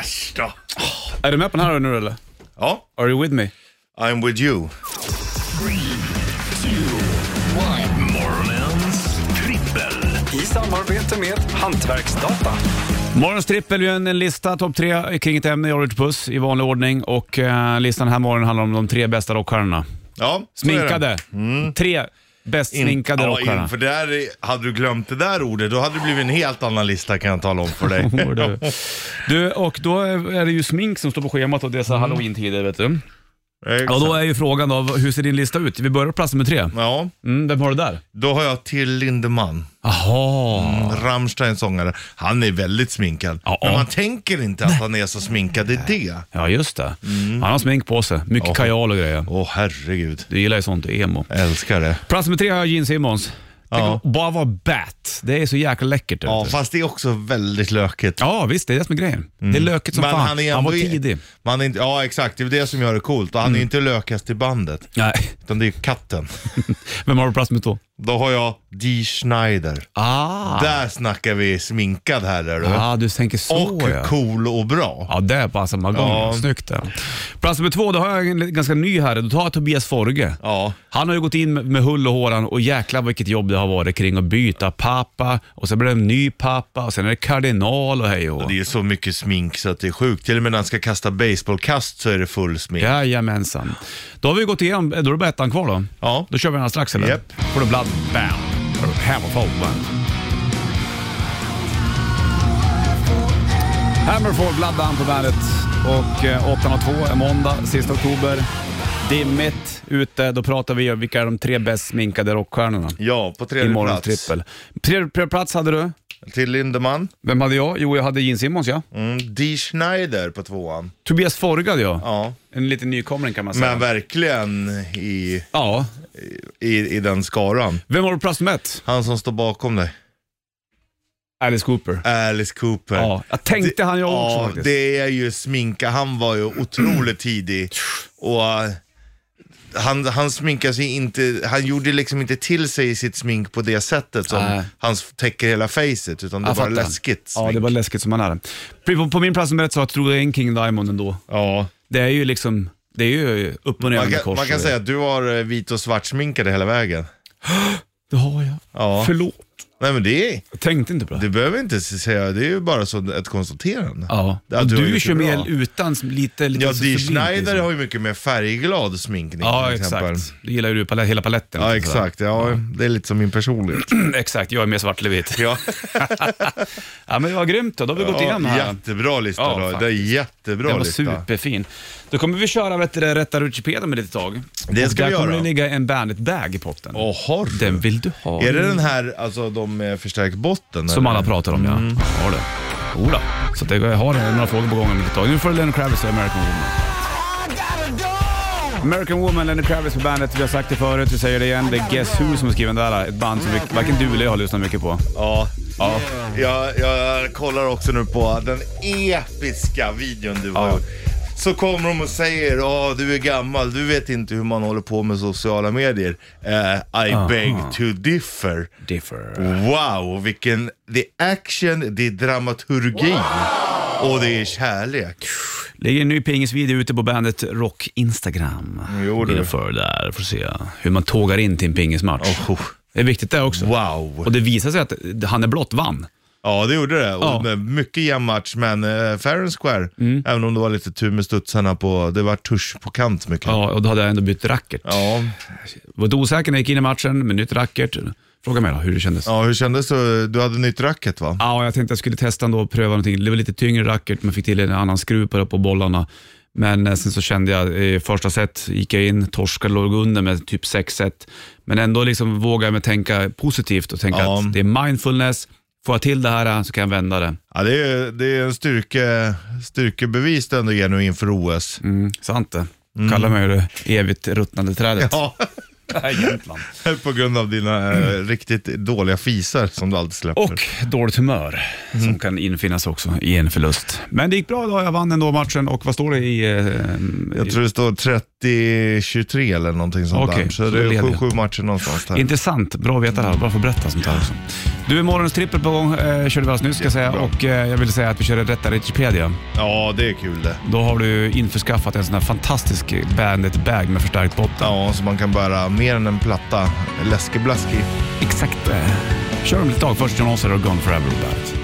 [SPEAKER 3] Äsch då.
[SPEAKER 2] Är du med på den här nu eller?
[SPEAKER 3] Ja,
[SPEAKER 2] Are you with me?
[SPEAKER 3] I'm with you.
[SPEAKER 1] Morgonens trippel.
[SPEAKER 6] I samarbete med Hantverksdata.
[SPEAKER 2] Morgons trippel, vi har en lista, topp tre kring ett ämne i Orange Puss i vanlig ordning och eh, listan den här morgonen handlar om de tre bästa rockstjärnorna.
[SPEAKER 3] Ja, så är
[SPEAKER 2] Sminkade.
[SPEAKER 3] det.
[SPEAKER 2] Tre bäst sminkade
[SPEAKER 3] ja,
[SPEAKER 2] rockstjärnorna.
[SPEAKER 3] in, för där, är- hade du glömt det där ordet, då hade det blivit en helt annan lista kan jag tala om
[SPEAKER 2] *laughs*
[SPEAKER 3] för dig.
[SPEAKER 2] Och du. du, och då är det ju smink som står på schemat och det är
[SPEAKER 3] Mm.
[SPEAKER 2] så här halloween-tider vet du.
[SPEAKER 3] Exakt.
[SPEAKER 2] Och då är ju frågan då, hur ser din lista ut? Vi börjar på plats nummer tre.
[SPEAKER 3] Ja,
[SPEAKER 2] Mm, vem har du där? Mm.
[SPEAKER 3] då har jag till Lindemann,
[SPEAKER 2] Jaha.
[SPEAKER 3] Rammstein-sångare. Han är väldigt sminkad,
[SPEAKER 2] Ja,
[SPEAKER 3] men
[SPEAKER 2] ja.
[SPEAKER 3] man tänker inte att han är så sminkad, det är det.
[SPEAKER 2] Ja, just det.
[SPEAKER 3] Mm.
[SPEAKER 2] Han har smink på sig. Mycket kajal och grejer.
[SPEAKER 3] Åh herregud,
[SPEAKER 2] Du gillar ju sånt, emo.
[SPEAKER 3] jag älskar det.
[SPEAKER 2] Plats nummer tre har jag Gene Simmons. Tänk
[SPEAKER 3] Ja.
[SPEAKER 2] att Bara vara bat. Det är så jäkla läckert.
[SPEAKER 3] Ja,
[SPEAKER 2] vet du.
[SPEAKER 3] fast det är också väldigt lökigt.
[SPEAKER 2] ja, visst det är det som är grejen. Det är lökigt som fan. Han,
[SPEAKER 3] ändå
[SPEAKER 2] var
[SPEAKER 3] i-
[SPEAKER 2] tidig. Mm.
[SPEAKER 3] Man är inte, ja, exakt. Det är det som gör det coolt. Och han är inte lökast i bandet,
[SPEAKER 2] Nej. *laughs*
[SPEAKER 3] utan det är katten.
[SPEAKER 2] Vem har du på plats nummer två?
[SPEAKER 3] Då har jag Dee Schneider.
[SPEAKER 2] Ah,
[SPEAKER 3] Där snackar vi sminkad här, är du.
[SPEAKER 2] ah du tänker så
[SPEAKER 3] och
[SPEAKER 2] ja. Ah.
[SPEAKER 3] cool och bra.
[SPEAKER 2] Ja, det är på samma gång.
[SPEAKER 3] Ja.
[SPEAKER 2] Snyggt det. Plats nummer två, då har jag en ganska ny här. Då tar jag Tobias Forge.
[SPEAKER 3] Ja.
[SPEAKER 2] Han har ju gått in med- med hull och håran och jäklar vilket jobb det har varit kring att byta pappa och sen blir det en ny pappa och sen är det kardinal och hej och hå.
[SPEAKER 3] Det är så mycket smink så att det är sjukt. Till och med när han ska kasta baseballkast så är det full smink.
[SPEAKER 2] Jajamensan. Då har vi gått igenom, eh, då är det bara ettan kvar då.
[SPEAKER 3] Ja.
[SPEAKER 2] Då kör vi den här strax eller?
[SPEAKER 3] Japp.
[SPEAKER 2] Får du Blood Bam. Hammerfall Band. Hammerfall Blood Band på bandet. Och eh, 8.02 är måndag, sista oktober. Dimmigt ute. Då pratar vi om vilka är de tre bäst sminkade rockstjärnorna.
[SPEAKER 3] Ja, på
[SPEAKER 2] I
[SPEAKER 3] tredje
[SPEAKER 2] morgons
[SPEAKER 3] plats.
[SPEAKER 2] trippel. Tredje tredje plats hade du.
[SPEAKER 3] Till Lindemann.
[SPEAKER 2] Vem hade jag? Jo, jag hade Gene Simmons ja.
[SPEAKER 3] Mm. Dee Schneider på tvåan.
[SPEAKER 2] Tobias Forge hade jag.
[SPEAKER 3] Ja.
[SPEAKER 2] En liten nykomling kan man säga.
[SPEAKER 3] Men verkligen i,
[SPEAKER 2] Ja.
[SPEAKER 3] i, i den skaran.
[SPEAKER 2] Vem har du på plats nummer ett?
[SPEAKER 3] Han som står bakom dig.
[SPEAKER 2] Alice Cooper.
[SPEAKER 3] Alice Cooper.
[SPEAKER 2] Ja, jag tänkte han jag också
[SPEAKER 3] ja,
[SPEAKER 2] faktiskt.
[SPEAKER 3] det är ju sminka. Han var ju otroligt tidig. Och eh, han, han sminkade sig inte, han gjorde liksom inte till sig i sitt smink på det sättet som
[SPEAKER 2] Nej.
[SPEAKER 3] han täcker hela facet utan det
[SPEAKER 2] Jag
[SPEAKER 3] var
[SPEAKER 2] fattar.
[SPEAKER 3] läskigt smink.
[SPEAKER 2] Ja, det var läskigt som han är. På, på min plats nummer ett så tror jag en King Diamond ändå.
[SPEAKER 3] Ja.
[SPEAKER 2] Det är ju liksom, det är ju upp och ner
[SPEAKER 3] Man
[SPEAKER 2] med
[SPEAKER 3] kan,
[SPEAKER 2] kors.
[SPEAKER 3] man kan
[SPEAKER 2] och-
[SPEAKER 3] säga att du har eh, vit och svart sminkade hela vägen.
[SPEAKER 2] Det har jag.
[SPEAKER 3] Ja.
[SPEAKER 2] Förlåt.
[SPEAKER 3] Nej men det är,
[SPEAKER 2] Jag tänkte inte på det.
[SPEAKER 3] du behöver inte säga, det är ju bara så ett konstaterande.
[SPEAKER 2] Ja.
[SPEAKER 3] Ja,
[SPEAKER 2] och
[SPEAKER 3] du har
[SPEAKER 2] du
[SPEAKER 3] gjort
[SPEAKER 2] kör
[SPEAKER 3] det bra.
[SPEAKER 2] mer utan s- lite... lite
[SPEAKER 3] Ja,
[SPEAKER 2] så
[SPEAKER 3] Dee
[SPEAKER 2] sublimt,
[SPEAKER 3] Schneider
[SPEAKER 2] liksom.
[SPEAKER 3] har ju mycket mer färgglad sminkning
[SPEAKER 2] Ja,
[SPEAKER 3] till exempel.
[SPEAKER 2] exakt. Du gillar ju du pale- hela paletten.
[SPEAKER 3] Ja,
[SPEAKER 2] liksom, sådär.
[SPEAKER 3] exakt. Ja, det är lite som min personlighet.
[SPEAKER 2] *laughs* exakt, jag är mer svart eller vit.
[SPEAKER 3] Ja.
[SPEAKER 2] *laughs* ja, men det var grymt då. Då har vi gått
[SPEAKER 3] Ja,
[SPEAKER 2] igenom här.
[SPEAKER 3] Jättebra lista
[SPEAKER 2] Ja,
[SPEAKER 3] då. Det är
[SPEAKER 2] faktiskt.
[SPEAKER 3] jättebra
[SPEAKER 2] Den var
[SPEAKER 3] lista.
[SPEAKER 2] superfin. Då kommer vi köra vet du, det, Rätta Rutschipeda med lite tag.
[SPEAKER 3] Det
[SPEAKER 2] Och
[SPEAKER 3] ska
[SPEAKER 2] där
[SPEAKER 3] vi
[SPEAKER 2] kommer
[SPEAKER 3] göra.
[SPEAKER 2] det ligga en Bandit-bag i potten.
[SPEAKER 3] Åh, har du?
[SPEAKER 2] Den vill du ha.
[SPEAKER 3] Är det den här, alltså de med förstärkt botten?
[SPEAKER 2] Som
[SPEAKER 3] eller?
[SPEAKER 2] alla pratar om, ja.
[SPEAKER 3] Mm.
[SPEAKER 2] Har det. Jodå. Så att jag har några frågor på gång om ett tag. Nu får du Lenny Kravitz och American Woman. American Woman, Lenny Kravitz på bandet. Vi har sagt det förut, vi säger det igen. Det är Guess Who som är skriven där. Ett band som vi- varken du eller jag har lyssnat mycket på.
[SPEAKER 3] Ja.
[SPEAKER 2] Ja.
[SPEAKER 3] Jag, jag kollar också nu på den episka videon du har
[SPEAKER 2] Ja.
[SPEAKER 3] gjort. Så kommer de och säger, ja du är gammal, du vet inte hur man håller på med sociala medier. Eh, I beg to differ.
[SPEAKER 2] Differ.
[SPEAKER 3] Wow, vilken, det är action, det är dramaturgi och det är kärlek.
[SPEAKER 2] ligger en ny pingisvideo ute på bandet Rock Instagram.
[SPEAKER 3] Mm, Jo, du.
[SPEAKER 2] Gå in och följ där får se hur man tågar in till en pingismatch.
[SPEAKER 3] Oh,
[SPEAKER 2] Det är viktigt det också.
[SPEAKER 3] Wow.
[SPEAKER 2] Och det visar sig att han är blott vann.
[SPEAKER 3] Ja, det gjorde det. Och
[SPEAKER 2] Ja.
[SPEAKER 3] med Mycket jämn match, men eh, fair and square. Även om det var lite tur med studsarna på, det var tusch på kant mycket. Ja.
[SPEAKER 2] Ja, och då hade jag ändå bytt racket.
[SPEAKER 3] Ja,
[SPEAKER 2] Var lite osäker när jag gick in i matchen med nytt racket. Fråga mig då hur det kändes. Ja.
[SPEAKER 3] hur kändes det? Du hade nytt racket va?
[SPEAKER 2] jag tänkte jag skulle testa ändå och pröva någonting. Det var lite tyngre racket, man fick till en annan skruv på, på bollarna. Men eh, sen så kände jag, eh, första set gick jag in, torskade, låg under med typ 6-1. Men ändå liksom vågade jag mig tänka positivt och tänka
[SPEAKER 3] Ja.
[SPEAKER 2] att det är mindfulness. Får jag till det här eh, så kan jag vända det.
[SPEAKER 3] Ja, det, är, det är en styrke, styrkebevis det ändå ger nu inför OS.
[SPEAKER 2] Mm, sant det. Kallar mig ju det evigt ruttnande trädet.
[SPEAKER 3] Ja, *laughs*
[SPEAKER 2] *laughs* Jämtland.
[SPEAKER 3] på grund av dina eh, riktigt dåliga fisar som du alltid släpper.
[SPEAKER 2] Och dåligt humör som
[SPEAKER 3] Mm.
[SPEAKER 2] kan infinnas också i en förlust. Men det gick bra idag. Jag vann ändå matchen och vad står det i... Eh,
[SPEAKER 3] Jag tror det står 30-23 eller någonting sånt
[SPEAKER 2] Okej,
[SPEAKER 3] där. Så
[SPEAKER 2] så
[SPEAKER 3] det
[SPEAKER 2] då
[SPEAKER 3] är
[SPEAKER 2] leder
[SPEAKER 3] 7-7 matcher någonstans där.
[SPEAKER 2] Intressant. Bra att veta det här. Bra att få berätta sånt här också. Du, morgonens trippel på gång eh, körde vi alldeles nyss ska jag säga.
[SPEAKER 3] Jättebra.
[SPEAKER 2] Och eh, jag vill säga att vi körde rätta Wikipedia.
[SPEAKER 3] Ja, det är kul det.
[SPEAKER 2] Då har du införskaffat en sån här fantastisk Bandit-bag med förstärkt botten.
[SPEAKER 3] Ja, så man kan bära mer än en platta läskeblask i.
[SPEAKER 2] Exakt det. Kör dem ett tag. Först John Osser och Gone Forever på Bandet.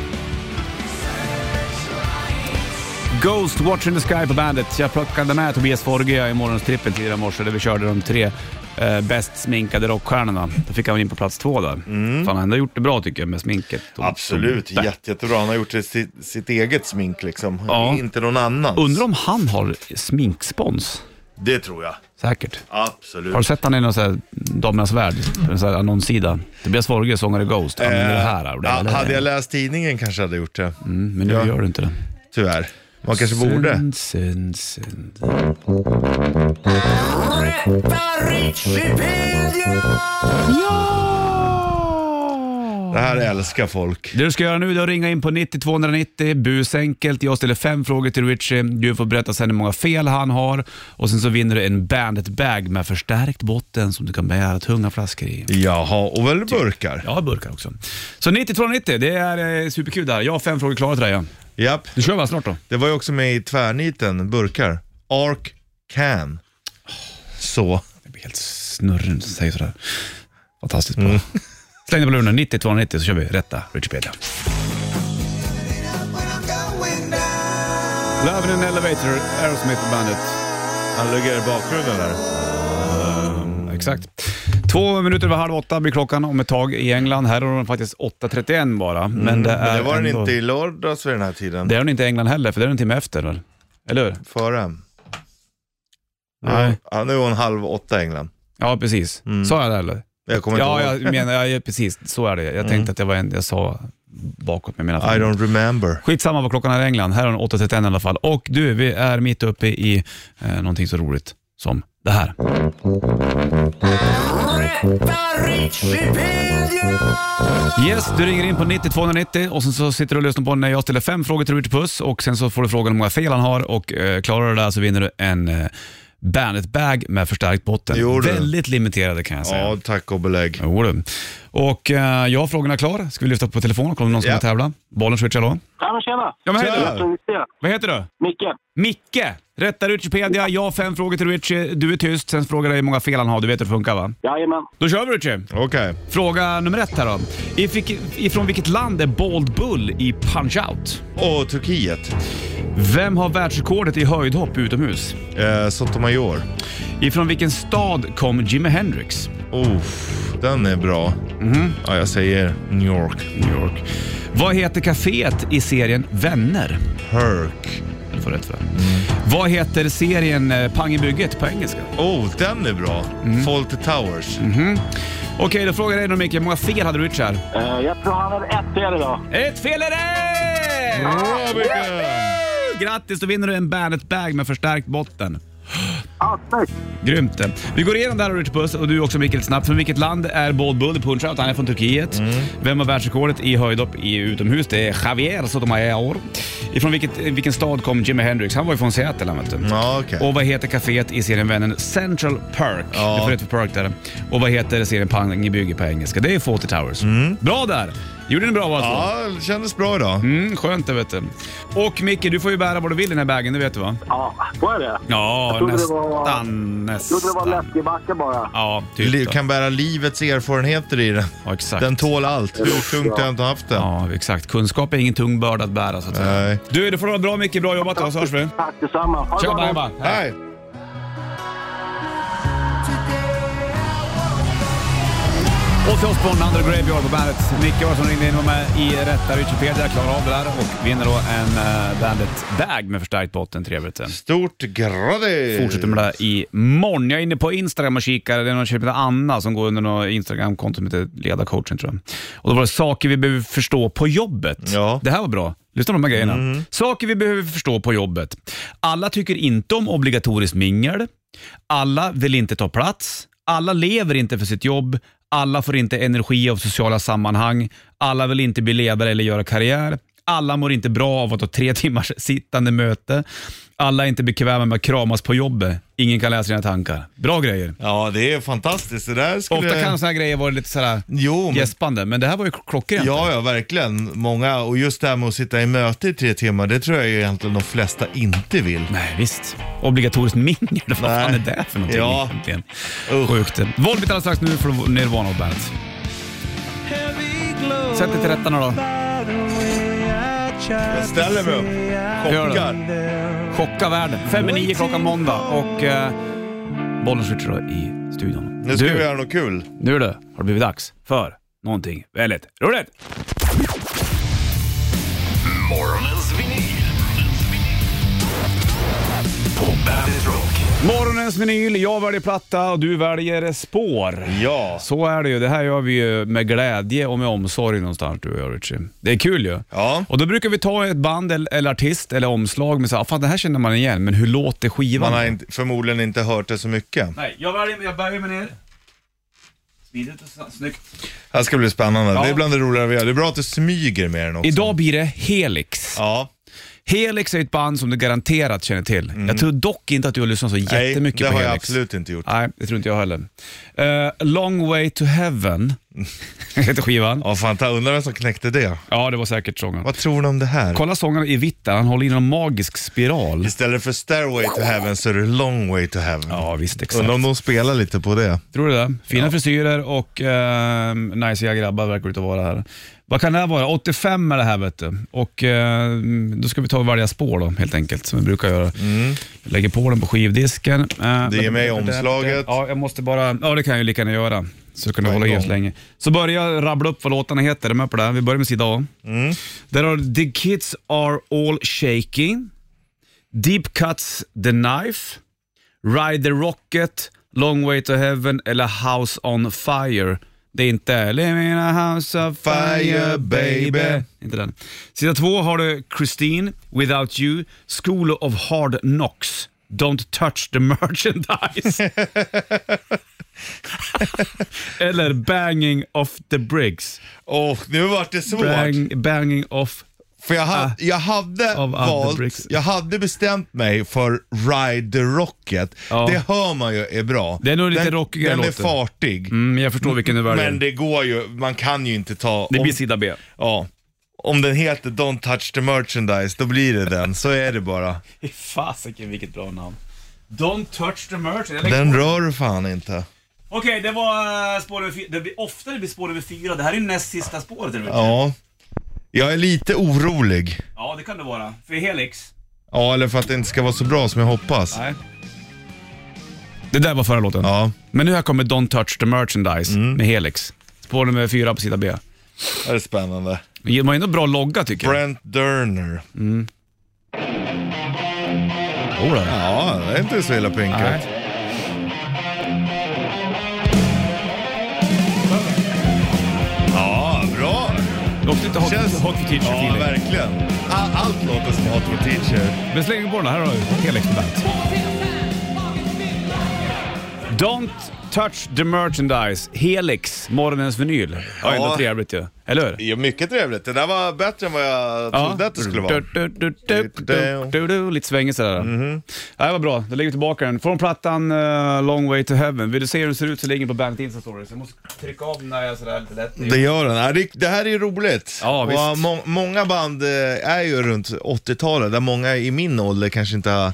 [SPEAKER 2] Ghost Watching the Sky på Bandet. Jag plockade med Tobias Forge i morgons trippel tidigare i morse där vi körde de tre eh, bäst sminkade rockstjärnorna. Då fick han in på plats två där.
[SPEAKER 3] Mm.
[SPEAKER 2] Fan, han har ändå gjort det bra tycker jag med sminket. Och- och-
[SPEAKER 3] Jätte, jättebra. Han har gjort sitt, sitt eget smink liksom.
[SPEAKER 2] Ja.
[SPEAKER 3] Inte någon annans.
[SPEAKER 2] Undrar om han har sminkspons?
[SPEAKER 3] Det tror jag.
[SPEAKER 2] Säkert.
[SPEAKER 3] Absolut.
[SPEAKER 2] Har du sett han i någon sån här Damernas Värld? En sån här annonssida. Tobias Forge, sångare Ghost. Han är det här. Och det,
[SPEAKER 3] Eh, Ja, hade jag läst tidningen kanske jag hade gjort det.
[SPEAKER 2] Mm, Men nu
[SPEAKER 3] Ja.
[SPEAKER 2] gör du inte det.
[SPEAKER 3] Tyvärr. Man kanske borde.
[SPEAKER 2] Synd, synd, synd.
[SPEAKER 3] Det här älskar folk.
[SPEAKER 2] Det du ska göra nu är att ringa in på 9290, busenkelt. Jag ställer fem frågor till Richie. Du får berätta sen hur många fel han har och sen så vinner du en Bandit-bag med förstärkt botten som du kan bära tunga flaskor i.
[SPEAKER 3] Jaha, och väl burkar?
[SPEAKER 2] Jag har burkar också. Så 9290, det är eh, superkul där. Jag har fem frågor klara till dig. ja.
[SPEAKER 3] Japp.
[SPEAKER 2] Du kör va snart då?
[SPEAKER 3] Det var ju också med i tvärniten, burkar. Ark can. Så.
[SPEAKER 2] Jag blir helt snurrig när du säger sådär. Fantastiskt
[SPEAKER 3] Mm.
[SPEAKER 2] bra. Släng dig på luren, 9290 så kör vi rätta Wikipedia. Love in an elevator, Aerosmith på bandet.
[SPEAKER 3] Han ligger i bakgrunden där.
[SPEAKER 2] Mm, Exakt. Två minuter över halv åtta blir klockan om ett tag i England. Här är den faktiskt 8.31 bara. Men det, är
[SPEAKER 3] Mm, Men det var den
[SPEAKER 2] Eh, ändå-
[SPEAKER 3] inte i lördags vid den här tiden.
[SPEAKER 2] Det är den inte i England heller, för det är en timme efter. Eller, eller hur?
[SPEAKER 3] Före.
[SPEAKER 2] Nej.
[SPEAKER 3] Ja, nu är hon halv åtta i England.
[SPEAKER 2] Ja, precis. Sa jag det eller?
[SPEAKER 3] Mm. Jag kommer
[SPEAKER 2] ja,
[SPEAKER 3] inte ihåg. Mm.
[SPEAKER 2] jag menar, ja, ja, precis. Så är det. Jag tänkte att det var en, jag sa bakåt med mina
[SPEAKER 3] I
[SPEAKER 2] fingrar.
[SPEAKER 3] don't remember.
[SPEAKER 2] Skitsamma vad klockan är i England. Här är den 8.31 i alla fall. Och du, vi är mitt uppe i eh, någonting så roligt som det här. Yes, du ringer in på 9290 och sen så sitter du och lyssnar på när jag ställer fem frågor till Richard Puss och sen så får du frågan hur många fel han har och eh, klarar du det där så vinner du en eh, Bandet-bag med förstärkt botten.
[SPEAKER 3] Jo, du.
[SPEAKER 2] Väldigt limiterade kan jag säga.
[SPEAKER 3] Ja, tack och belägg.
[SPEAKER 2] Jo, du. Och eh, jag har frågorna klar. Ska vi lyfta på telefonen och kolla om någon ska
[SPEAKER 3] Ja.
[SPEAKER 2] yeah. tävla? Bollen switchar då.
[SPEAKER 7] Tjena, tjena!
[SPEAKER 2] Ja, men hej
[SPEAKER 3] Tjena.
[SPEAKER 2] du.
[SPEAKER 7] Tror det.
[SPEAKER 2] Vad heter du?
[SPEAKER 7] Micke.
[SPEAKER 2] Micke! Rätta Wikipedia. Jag har fem frågor till Richie. Du är tyst, sen frågar jag dig hur många fel han har. Du vet hur det funkar va?
[SPEAKER 7] Jajamän.
[SPEAKER 2] Då kör vi Richie!
[SPEAKER 3] Okej.
[SPEAKER 2] Fråga nummer ett här då. Ifik- ifrån vilket land är Bald Bull i Punch-Out?
[SPEAKER 3] Och Turkiet.
[SPEAKER 2] Vem har världsrekordet i höjdhopp utomhus?
[SPEAKER 3] Eh, Sotomayor.
[SPEAKER 2] Ifrån vilken stad kom Jimi Hendrix?
[SPEAKER 3] Oh, den är bra.
[SPEAKER 2] Mhm.
[SPEAKER 3] Ja, jag säger New York.
[SPEAKER 2] New York. Vad heter kaféet i serien Vänner?
[SPEAKER 3] Herc.
[SPEAKER 2] Du får rätt för det. Vad heter serien eh, Pang i bygget på engelska?
[SPEAKER 3] Oh, den är bra.
[SPEAKER 2] Mhm.
[SPEAKER 3] Fawlty Towers.
[SPEAKER 2] Okej, då frågar jag dig då Micke, hur många fel hade du Richard?
[SPEAKER 7] Eh, jag tror han hade ett fel idag.
[SPEAKER 2] Ett fel är det!
[SPEAKER 3] Bra, Micke!
[SPEAKER 2] Grattis, då vinner du en Bandet-bag med förstärkt botten.
[SPEAKER 7] Ja, snyggt.
[SPEAKER 2] Grymt det. Vi går igenom det här Richard Puss och du också Mikael snabbt. Från vilket land är Bold Bull i punch-out? Han är från Turkiet.
[SPEAKER 3] Mm.
[SPEAKER 2] Vem har världsrekordet i höjdhopp i utomhus? Det är Javier Sotomayor. Ifrån vilket, vilken stad kom Jimi Hendrix? Han var ju från Seattle han vet du.
[SPEAKER 3] Ja, okej.
[SPEAKER 2] Och vad heter kaféet i serien Vännen? Central Park. Du får rätt för Park där. Och vad heter serien Pang i bygge på engelska? Det är Fawlty Towers. Bra där! Gjorde ni bra båda två?
[SPEAKER 3] Mm. Ja, det kändes bra idag.
[SPEAKER 2] Mm, skönt det vet du. Och Micke, du får ju bära vad du vill i den här bagen, det vet du va?
[SPEAKER 7] Ja, får jag det?
[SPEAKER 2] Ja,
[SPEAKER 7] Jag trodde det var-
[SPEAKER 2] nästan.
[SPEAKER 7] Jag trodde det var
[SPEAKER 2] Nästan.
[SPEAKER 7] läskebacke bara.
[SPEAKER 2] Ja,
[SPEAKER 3] Li-
[SPEAKER 2] typ. då.
[SPEAKER 3] kan bära livets erfarenheter i den.
[SPEAKER 2] Ja, exakt.
[SPEAKER 3] Den tål allt, hur tungt jag inte haft det.
[SPEAKER 2] Ja, exakt. Kunskap är ingen tung börda att bära så att säga.
[SPEAKER 3] Nej.
[SPEAKER 2] Du, det får vara bra Micke. Bra jobbat då, så hörs vi.
[SPEAKER 7] Tack detsamma. Ha det
[SPEAKER 2] Tja,
[SPEAKER 7] bra
[SPEAKER 2] bye,
[SPEAKER 7] nu.
[SPEAKER 2] bye. Hej.
[SPEAKER 3] Nej.
[SPEAKER 2] Och till oss på Under Graveyard på bandet. Micke var som ringde in och var med i rätta Wikipedia, klarar av det där och vinner då en uh, Bandet-bag med förstärkt botten. Trevligt.
[SPEAKER 3] Stort grattis!
[SPEAKER 2] Fortsätter med det här imorgon. Jag är inne på Instagram och kikar. Det är någon tjej som heter Anna som går under något Instagram-konto som heter Ledarcoachen tror jag. Och då var det saker vi behöver förstå på jobbet.
[SPEAKER 3] Ja.
[SPEAKER 2] Det här var bra. Lyssna på de här grejerna.
[SPEAKER 3] Mhm.
[SPEAKER 2] Saker vi behöver förstå på jobbet. Alla tycker inte om obligatoriskt mingel. Alla vill inte ta plats. Alla lever inte för sitt jobb. Alla får inte energi av sociala sammanhang. Alla vill inte bli ledare eller göra karriär. Alla mår inte bra av att ha tre *laughs* timmars sittande möte. Alla är inte bekväma med att kramas på jobbet. Ingen kan läsa sina tankar. Bra grejer.
[SPEAKER 3] Ja, det är fantastiskt. Det där skulle...
[SPEAKER 2] Ofta kan sådana här grejer vara lite sådär
[SPEAKER 3] Jo, men...
[SPEAKER 2] gäspande, men det här var ju klockrent.
[SPEAKER 3] Ja, ja, verkligen. Många, och just det här med att sitta i möte i tre timmar, det tror jag ju egentligen de flesta inte vill.
[SPEAKER 2] Nej, visst. Obligatoriskt mingel, vad fan är det för någonting
[SPEAKER 3] Ja.
[SPEAKER 2] egentligen?
[SPEAKER 3] Usch.
[SPEAKER 2] Sjukt. Volbit alldeles strax nu från Nirvana och bandet. Sätt dig till rätta nu då.
[SPEAKER 3] Jag ställer mig upp.
[SPEAKER 2] Gör det.
[SPEAKER 3] Chockar.
[SPEAKER 2] Chocka världen. Fem i nio klockan måndag och eh, bollen switchar då i studion.
[SPEAKER 3] Nu ska
[SPEAKER 2] du,
[SPEAKER 3] vi göra något kul.
[SPEAKER 2] nu du, har det blivit dags för någonting väldigt roligt.
[SPEAKER 1] Morgonens vinyl. På Bandit Rock.
[SPEAKER 2] Morgonens vinyl, jag väljer platta och du väljer spår.
[SPEAKER 3] Ja.
[SPEAKER 2] Så är det ju. Det här gör vi ju med glädje och med omsorg någonstans du och jag Richie. Det är kul ju.
[SPEAKER 3] Ja.
[SPEAKER 2] Och då brukar vi ta ett band eller, eller artist eller omslag med så här, "Ah, fan det här känner man igen, men hur låter skivan?
[SPEAKER 3] Man har inte, förmodligen inte hört det så mycket.
[SPEAKER 2] Nej, jag väljer, jag böjer mig ner. Smidigt och snyggt.
[SPEAKER 3] Det här ska bli spännande.
[SPEAKER 2] Ja.
[SPEAKER 3] Det är bland det roligare vi gör. Det är bra att du smyger med den också.
[SPEAKER 2] Idag blir det Helix.
[SPEAKER 3] Ja,
[SPEAKER 2] Helix är ett band som du garanterat känner till. Jag tror dock inte att du har lyssnat så
[SPEAKER 3] Mm. nej, det
[SPEAKER 2] jättemycket på
[SPEAKER 3] har jag
[SPEAKER 2] Helix.
[SPEAKER 3] absolut inte gjort.
[SPEAKER 2] Nej, det tror inte jag heller. Eh, Long way to heaven heter skivan.
[SPEAKER 3] Mm. Ja, fan, ta undrar vem som knäckte det.
[SPEAKER 2] Ja, det var säkert sången.
[SPEAKER 3] Vad tror du om det här?
[SPEAKER 2] Kolla sångaren i vitt där, han håller i någon magisk spiral.
[SPEAKER 3] Istället för stairway to heaven så är det long way to heaven.
[SPEAKER 2] Ja, visst exakt.
[SPEAKER 3] Undrar om de spelar lite på det.
[SPEAKER 2] Tror du det? Fina frisyrer och eh, najsiga grabbar verkar det vara här. Vad kan det här vara? 85 är det här vet du. Och eh, då ska vi ta och välja spår då helt enkelt, som vi brukar göra. Lägger på den på skivdisken. Eh,
[SPEAKER 3] Mm. Det är med i omslaget.
[SPEAKER 2] Ja, jag måste bara... Ja, det kan jag ju lika gärna göra. Så kan du
[SPEAKER 3] På en
[SPEAKER 2] hålla i oss
[SPEAKER 3] gång.
[SPEAKER 2] länge. Så börjar jag rabbla upp vad låtarna heter. Är du med på det? här? Vi börjar med sida A.
[SPEAKER 3] Mm.
[SPEAKER 2] Där har du The Kids Are All Shaking, Deep Cuts The Knife, Ride the Rocket, Long Way to Heaven eller House on Fire. Det är inte Living in a house of fire baby. Inte den. Sida två har du Christine, Without You, School of Hard Knocks. Don't touch the merchandise. *laughs* Eller banging off the bricks.
[SPEAKER 3] Och nu vart det svårt.
[SPEAKER 2] Bang, banging off
[SPEAKER 3] För jag, ha,
[SPEAKER 2] Ah.
[SPEAKER 3] jag hade
[SPEAKER 2] Av other bricks.
[SPEAKER 3] valt, jag hade bestämt mig för Ride the Rocket.
[SPEAKER 2] Ja.
[SPEAKER 3] Det hör man ju är bra.
[SPEAKER 2] Det är nog lite
[SPEAKER 3] den,
[SPEAKER 2] rockigare
[SPEAKER 3] Den är
[SPEAKER 2] låten.
[SPEAKER 3] fartig.
[SPEAKER 2] Mm, jag förstår vilken du väljer.
[SPEAKER 3] Men det går ju, man kan ju inte ta...
[SPEAKER 2] det
[SPEAKER 3] om-
[SPEAKER 2] blir sida B.
[SPEAKER 3] Ja. Om den heter Don't touch the merchandise, då blir det den. Så är det bara.
[SPEAKER 2] Fy fasiken vilket bra namn. Don't touch the merch. Jag lägger-
[SPEAKER 3] Den rör du fan inte.
[SPEAKER 2] Okej, det var eh, spår över fyra. Det blir ofta det blir spår över fyra. Det här är ju näst sista spåret. Eller? Ja.
[SPEAKER 3] Ja. Jag är lite orolig.
[SPEAKER 2] ja, det kan det vara. För Helix.
[SPEAKER 3] Ja, eller för att det inte ska vara så bra som jag hoppas.
[SPEAKER 2] Nej. Det där var förra låten.
[SPEAKER 3] Ja,
[SPEAKER 2] Men nu här kommer Don't touch the merchandise med Helix. Spår nummer fyra på sida B.
[SPEAKER 3] det är spännande.
[SPEAKER 2] De har ju ändå bra logga tycker jag.
[SPEAKER 3] Brent Derner.
[SPEAKER 2] Oh, då.
[SPEAKER 3] Ja, det är inte så illa pinkat.
[SPEAKER 2] Nej.
[SPEAKER 3] Ja, bra.
[SPEAKER 2] Det låter lite hot, hot for teacher
[SPEAKER 3] Ja,
[SPEAKER 2] feeling.
[SPEAKER 3] verkligen. All, allt låter som Hot for Teacher.
[SPEAKER 2] Men släng på den här då, Helix på bandet. Don't touch the merchandise. Helix, morgonens vinyl. Ja, ändå
[SPEAKER 3] Ja.
[SPEAKER 2] trevligt ju. Eller hur?
[SPEAKER 3] Ja, mycket trevligt. Det där var bättre än vad jag trodde att det skulle vara.
[SPEAKER 2] Du, du, du, du, du, du. Lite svängigt sådär.
[SPEAKER 3] Mhm.
[SPEAKER 2] Mm-hmm. Det var bra, då lägger vi tillbaka den. Från plattan eh, Long way to heaven. Vill du se hur den ser ut så ligger den på Bandet Insta Stories. Jag måste trycka av den när jag är sådär lite lätt.
[SPEAKER 3] Det gör den. Ja, det- Det här är ju roligt.
[SPEAKER 2] Ja,
[SPEAKER 3] Och,
[SPEAKER 2] visst.
[SPEAKER 3] äh, må- många band eh, är ju runt 80-talet, där många i min ålder kanske inte har,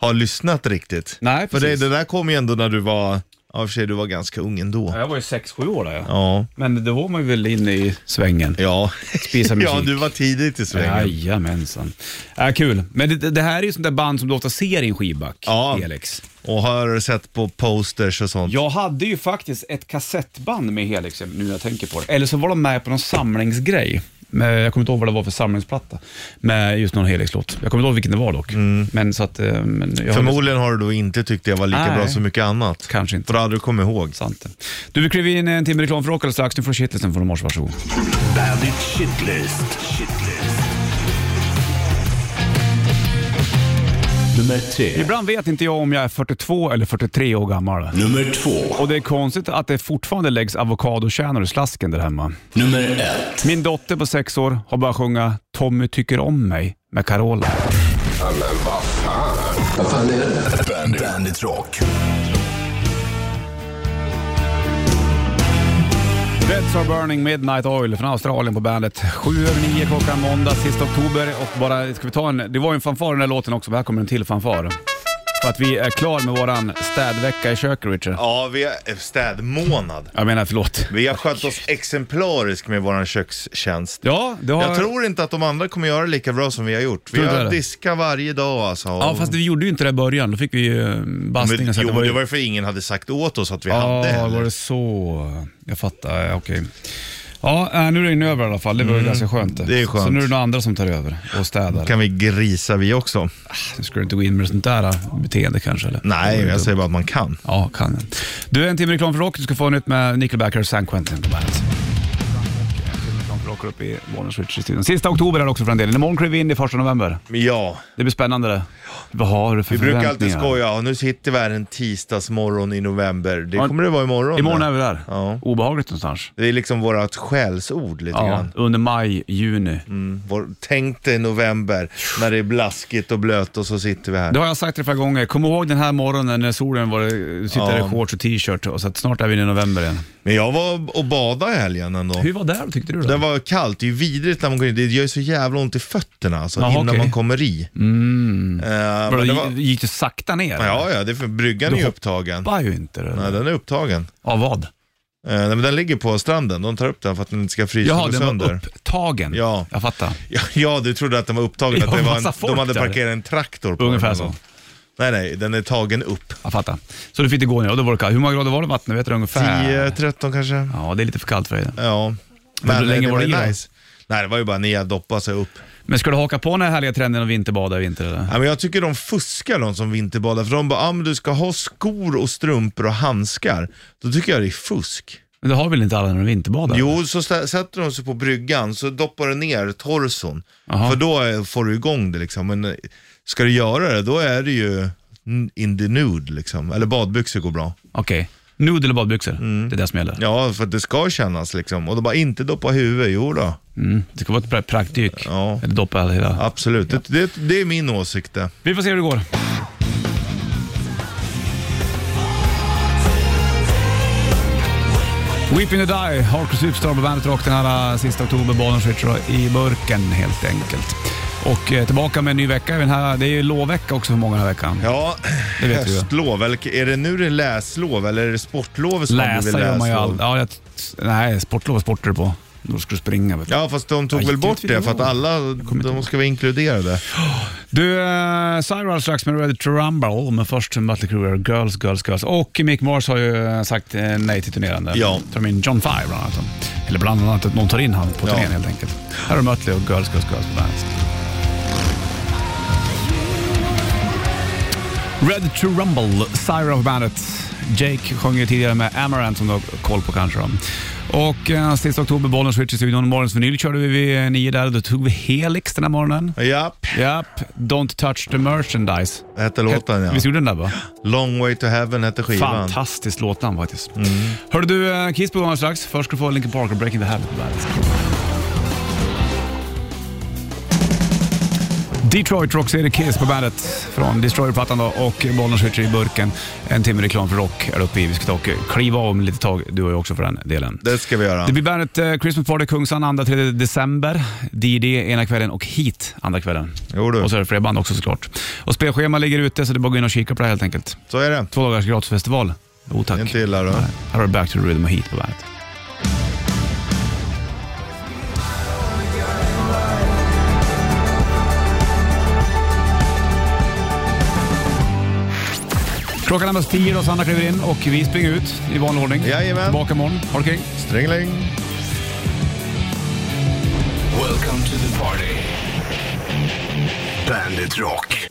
[SPEAKER 3] har lyssnat riktigt.
[SPEAKER 2] Nej,
[SPEAKER 3] För det,
[SPEAKER 2] precis.
[SPEAKER 3] det där kom ju ändå när du var, ja, i och för sig du var ganska ung ändå.
[SPEAKER 2] Ja, Jag var ju 6-7 år där ja.
[SPEAKER 3] Ja.
[SPEAKER 2] Men då var man ju väl inne i svängen.
[SPEAKER 3] Ja,
[SPEAKER 2] Spisa musik.
[SPEAKER 3] *laughs* ja du var tidigt i svängen.
[SPEAKER 2] Jajamensan. Äh, kul. Men det, det här är ju sånt där band som du ofta ser i en skivback,
[SPEAKER 3] Ja.
[SPEAKER 2] Helix.
[SPEAKER 3] Och har sett på posters och sånt.
[SPEAKER 2] Jag hade ju faktiskt ett kassettband med Helix, nu när jag tänker på det. Eller så var de med på någon samlingsgrej. Men Jag kommer inte ihåg vad det var för samlingsplatta med just någon Helix-låt. Jag kommer inte ihåg vilken det var dock. Men så att... eh, Men jag har-
[SPEAKER 3] Förmodligen har du då inte tyckt det var lika
[SPEAKER 2] Nej.
[SPEAKER 3] bra som mycket annat.
[SPEAKER 2] Kanske inte.
[SPEAKER 3] För då hade du kommit ihåg.
[SPEAKER 2] Sant. Du, vi kliver in i en timme reklam för rock alldeles strax. Nu får du shitlisten från i morse, varsågod.
[SPEAKER 1] Bandit Shitlist. Shitlist. Nummer tre.
[SPEAKER 2] Ibland vet inte jag om jag är 42 eller 43 år gammal.
[SPEAKER 1] Nummer två.
[SPEAKER 2] Och det är konstigt att det fortfarande läggs avokadokärnor i slasken där hemma.
[SPEAKER 1] Nummer ett.
[SPEAKER 2] Min dotter på sex år har börjat sjunga “Tommy tycker om mig” med Carola.
[SPEAKER 1] Bandit, Bandit Rock.
[SPEAKER 2] Reds are burning midnight oil från Australien på bandet. Sju över nio klockan måndag, sista oktober. Och bara, ska vi ta en, det var ju en fanfar i den här låten också, men här kommer en till fanfar. För att vi är klar med våran städvecka i köket, Richard.
[SPEAKER 3] Ja, vi är städmånad.
[SPEAKER 2] Jag menar, förlåt.
[SPEAKER 3] Vi har skött oss exemplariskt med vår kökstjänst.
[SPEAKER 2] Ja, det har...
[SPEAKER 3] Jag tror inte att de andra kommer göra lika bra som vi har gjort. Vi
[SPEAKER 2] Tror du det?
[SPEAKER 3] har diskat varje dag alltså.
[SPEAKER 2] Ja, fast vi gjorde ju inte det i början. Då fick vi ju eh,
[SPEAKER 3] men,
[SPEAKER 2] bastningen. så att
[SPEAKER 3] jo,
[SPEAKER 2] det var ju-
[SPEAKER 3] det var ju för ingen hade sagt åt oss att vi hade
[SPEAKER 2] Ja,
[SPEAKER 3] heller.
[SPEAKER 2] var det så? Jag fattar, ja, okej. Ja, äh, nu är den över i alla fall. Det var ju ganska skönt.
[SPEAKER 3] Mm. det är skönt.
[SPEAKER 2] Så nu är det några andra som tar över och städar.
[SPEAKER 3] Kan vi grisa vi också?
[SPEAKER 2] Nu ska du inte gå in med sånt där äh, beteende kanske? Eller?
[SPEAKER 3] Nej, jag säger bara att man kan.
[SPEAKER 2] Ja, kan den. Du, en timme reklam för rock. Du ska få nytt med Nickelback och San Quentin på bandet. Rockar upp i Bonus Switch-studion. Sista oktober är det också för en del. Imorgon kliver vi in i första november.
[SPEAKER 3] Men ja,
[SPEAKER 2] Det blir spännande det. Vad har du för
[SPEAKER 3] vi brukar alltid
[SPEAKER 2] förväntningar?
[SPEAKER 3] skoja. "Ja, Nu sitter vi här en tisdagsmorgon i november. Det
[SPEAKER 2] Ja,
[SPEAKER 3] kommer det vara imorgon.
[SPEAKER 2] Imorgon
[SPEAKER 3] då.
[SPEAKER 2] är vi där.
[SPEAKER 3] Ja.
[SPEAKER 2] Obehagligt någonstans.
[SPEAKER 3] Det är liksom vårt skällsord lite
[SPEAKER 2] Ja,
[SPEAKER 3] grann.
[SPEAKER 2] under maj, juni.
[SPEAKER 3] Vår, tänk dig november när det är blaskigt och blött och så sitter vi här.
[SPEAKER 2] Det har jag sagt ett par gånger. Kom ihåg den här morgonen när solen var, du sitter
[SPEAKER 3] Ja.
[SPEAKER 2] i shorts och t-shirt. och Så att snart är vi inne i november igen.
[SPEAKER 3] Men jag var och badade i helgen ändå.
[SPEAKER 2] Hur var det då, tyckte du? Då?
[SPEAKER 3] Det var kallt, det är ju vidrigt när man går in. Det gör ju så jävla ont i fötterna alltså,
[SPEAKER 2] Jaha,
[SPEAKER 3] innan
[SPEAKER 2] okej. Mm.
[SPEAKER 3] man kommer i. Eh, men
[SPEAKER 2] Vadå,
[SPEAKER 3] det var,
[SPEAKER 2] Gick du sakta ner?
[SPEAKER 3] ja, ja, det är för, bryggan
[SPEAKER 2] Du
[SPEAKER 3] är ju
[SPEAKER 2] hoppar-
[SPEAKER 3] upptagen.
[SPEAKER 2] Hoppar ju inte. eller?
[SPEAKER 3] Nej, den är upptagen.
[SPEAKER 2] Av vad?
[SPEAKER 3] Eh, nej, men den ligger på stranden, de tar upp den för att den inte ska frysa
[SPEAKER 2] Jaha,
[SPEAKER 3] och gå
[SPEAKER 2] den var
[SPEAKER 3] sönder.
[SPEAKER 2] upptagen.
[SPEAKER 3] Ja.
[SPEAKER 2] Jag fattar.
[SPEAKER 3] Ja, ja, du trodde att den var upptagen,
[SPEAKER 2] Ja,
[SPEAKER 3] att det var
[SPEAKER 2] massa
[SPEAKER 3] en,
[SPEAKER 2] folk
[SPEAKER 3] de hade
[SPEAKER 2] där.
[SPEAKER 3] parkerat en traktor på
[SPEAKER 2] Ungefär
[SPEAKER 3] den.
[SPEAKER 2] så.
[SPEAKER 3] Nej, nej, den är tagen upp.
[SPEAKER 2] Jag fattar. Så du fick det gå ner och då var det kallt. Hur många grader var det i vattnet? Vet du ungefär?
[SPEAKER 3] 10, 13 kanske. Ja.
[SPEAKER 2] Ja, det är lite för kallt för dig.
[SPEAKER 3] Men, eh,
[SPEAKER 2] hur länge
[SPEAKER 3] det
[SPEAKER 2] var det i då?
[SPEAKER 3] ju nice. Nej, det var ju bara ner, doppa sig upp.
[SPEAKER 2] Men ska du haka på den här härliga trenden och vinterbada i vinter eller?
[SPEAKER 3] Ja, men jag tycker de fuskar de som vinterbadar, för de bara, ah, men du ska ha skor och strumpor och handskar. Då tycker jag det är fusk.
[SPEAKER 2] Men det har väl inte alla när de vinterbadar?
[SPEAKER 3] Jo, så stä- sätter de sig på bryggan, så doppar du ner torson.
[SPEAKER 2] Jaha.
[SPEAKER 3] För då är- får du igång det liksom. Men eh, ska du göra det, då är det ju n- in the nude liksom. Eller badbyxor går bra.
[SPEAKER 2] Okej. Nudel och badbyxor, det är det som gäller.
[SPEAKER 3] Mm. Ja, för att det ska kännas liksom. Och då bara, inte doppa huvudet, jo då.
[SPEAKER 2] Mm. Det ska vara ett pra- praktdyk.
[SPEAKER 3] Ja.
[SPEAKER 2] Eller doppa hela.
[SPEAKER 3] Absolut, det, det, det är min åsikt det.
[SPEAKER 2] Vi får se hur det går. Weeping to Die, Hardcore Superstar på Bandet Rock den här äh, sista oktober, Bonus Richard i burken helt enkelt. Och eh, tillbaka med en ny vecka. även här, det är ju lovvecka också för många den här veckan.
[SPEAKER 3] Ja,
[SPEAKER 2] Det vet vi ju.
[SPEAKER 3] höstlov. Eller, är det nu det är läslov eller är det sportlov som har blivit
[SPEAKER 2] Läsa gör man ju
[SPEAKER 3] läslov?
[SPEAKER 2] aldrig. Ja, jag, nej, sportlov är sporter på. Då ska du springa. Vet du.
[SPEAKER 3] Ja, fast de tog
[SPEAKER 2] Jag
[SPEAKER 3] väl
[SPEAKER 2] gick
[SPEAKER 3] bort
[SPEAKER 2] ut vid
[SPEAKER 3] det för att
[SPEAKER 2] nivån.
[SPEAKER 3] alla, de ska vara inkluderade.
[SPEAKER 2] Du, eh, Cyrus strax med Ready to Rumble, men först Mötley Crüe, Girls, Girls, Girls. Och Mick Mars har ju eh, sagt eh, nej till turnerande.
[SPEAKER 3] Ja.
[SPEAKER 2] Tar de in John Five bland annat. Eller bland annat att någon tar in han på
[SPEAKER 3] Ja.
[SPEAKER 2] turnén helt enkelt. Här har Mötley och Girls, Girls, Girls på bandet. Red to Rumble, Sire of Bandet. Jake sjöng ju tidigare med Amaranth som du har koll på kanske. Då. Och eh, sista oktober, Bollnäs Switch i studion. Morgons vinyl körde vi vid eh, nio där. Då tog vi Helix den här morgonen.
[SPEAKER 3] Japp,
[SPEAKER 2] Japp, Don't touch the merchandise.
[SPEAKER 3] hette låten ja.
[SPEAKER 2] Visst gjorde den där va?
[SPEAKER 3] Long way to heaven hette skivan. Mm.
[SPEAKER 2] Fantastisk låtnamn faktiskt. Hörde du, eh, Kiss på gång alldeles strax. Först ska du få Linkin Park och Breaking the Habit på bandet. Detroit Rockserie Kiss på bandet från Destroyer-plattan då och Bollnäs Switcher i burken. En timme reklam för rock är uppe i. Vi ska ta och kliva av om lite tag, du och jag också för den delen.
[SPEAKER 3] Det ska vi göra.
[SPEAKER 2] Det blir bandet eh, Christmas Party Kungsan 2-3 december. DD ena kvällen och Heat andra kvällen.
[SPEAKER 3] Jo du.
[SPEAKER 2] Och så är det fler band också såklart. Och spelschema ligger ute så det är bara att gå in och kika på det här helt enkelt.
[SPEAKER 3] Så är det.
[SPEAKER 2] Två dagars gratisfestival. Jo tack.
[SPEAKER 3] Inte illa då.
[SPEAKER 2] Nej. Här har du Back to the Rhythm och Heat på bandet. Klockan närmar sig tio och Sanna kliver in och vi springer ut i vanlig ordning.
[SPEAKER 3] Jajamän.
[SPEAKER 2] Tillbaka imorgon. Ha det kring.
[SPEAKER 3] Stringling.
[SPEAKER 1] Welcome to the party. Bandit Rock.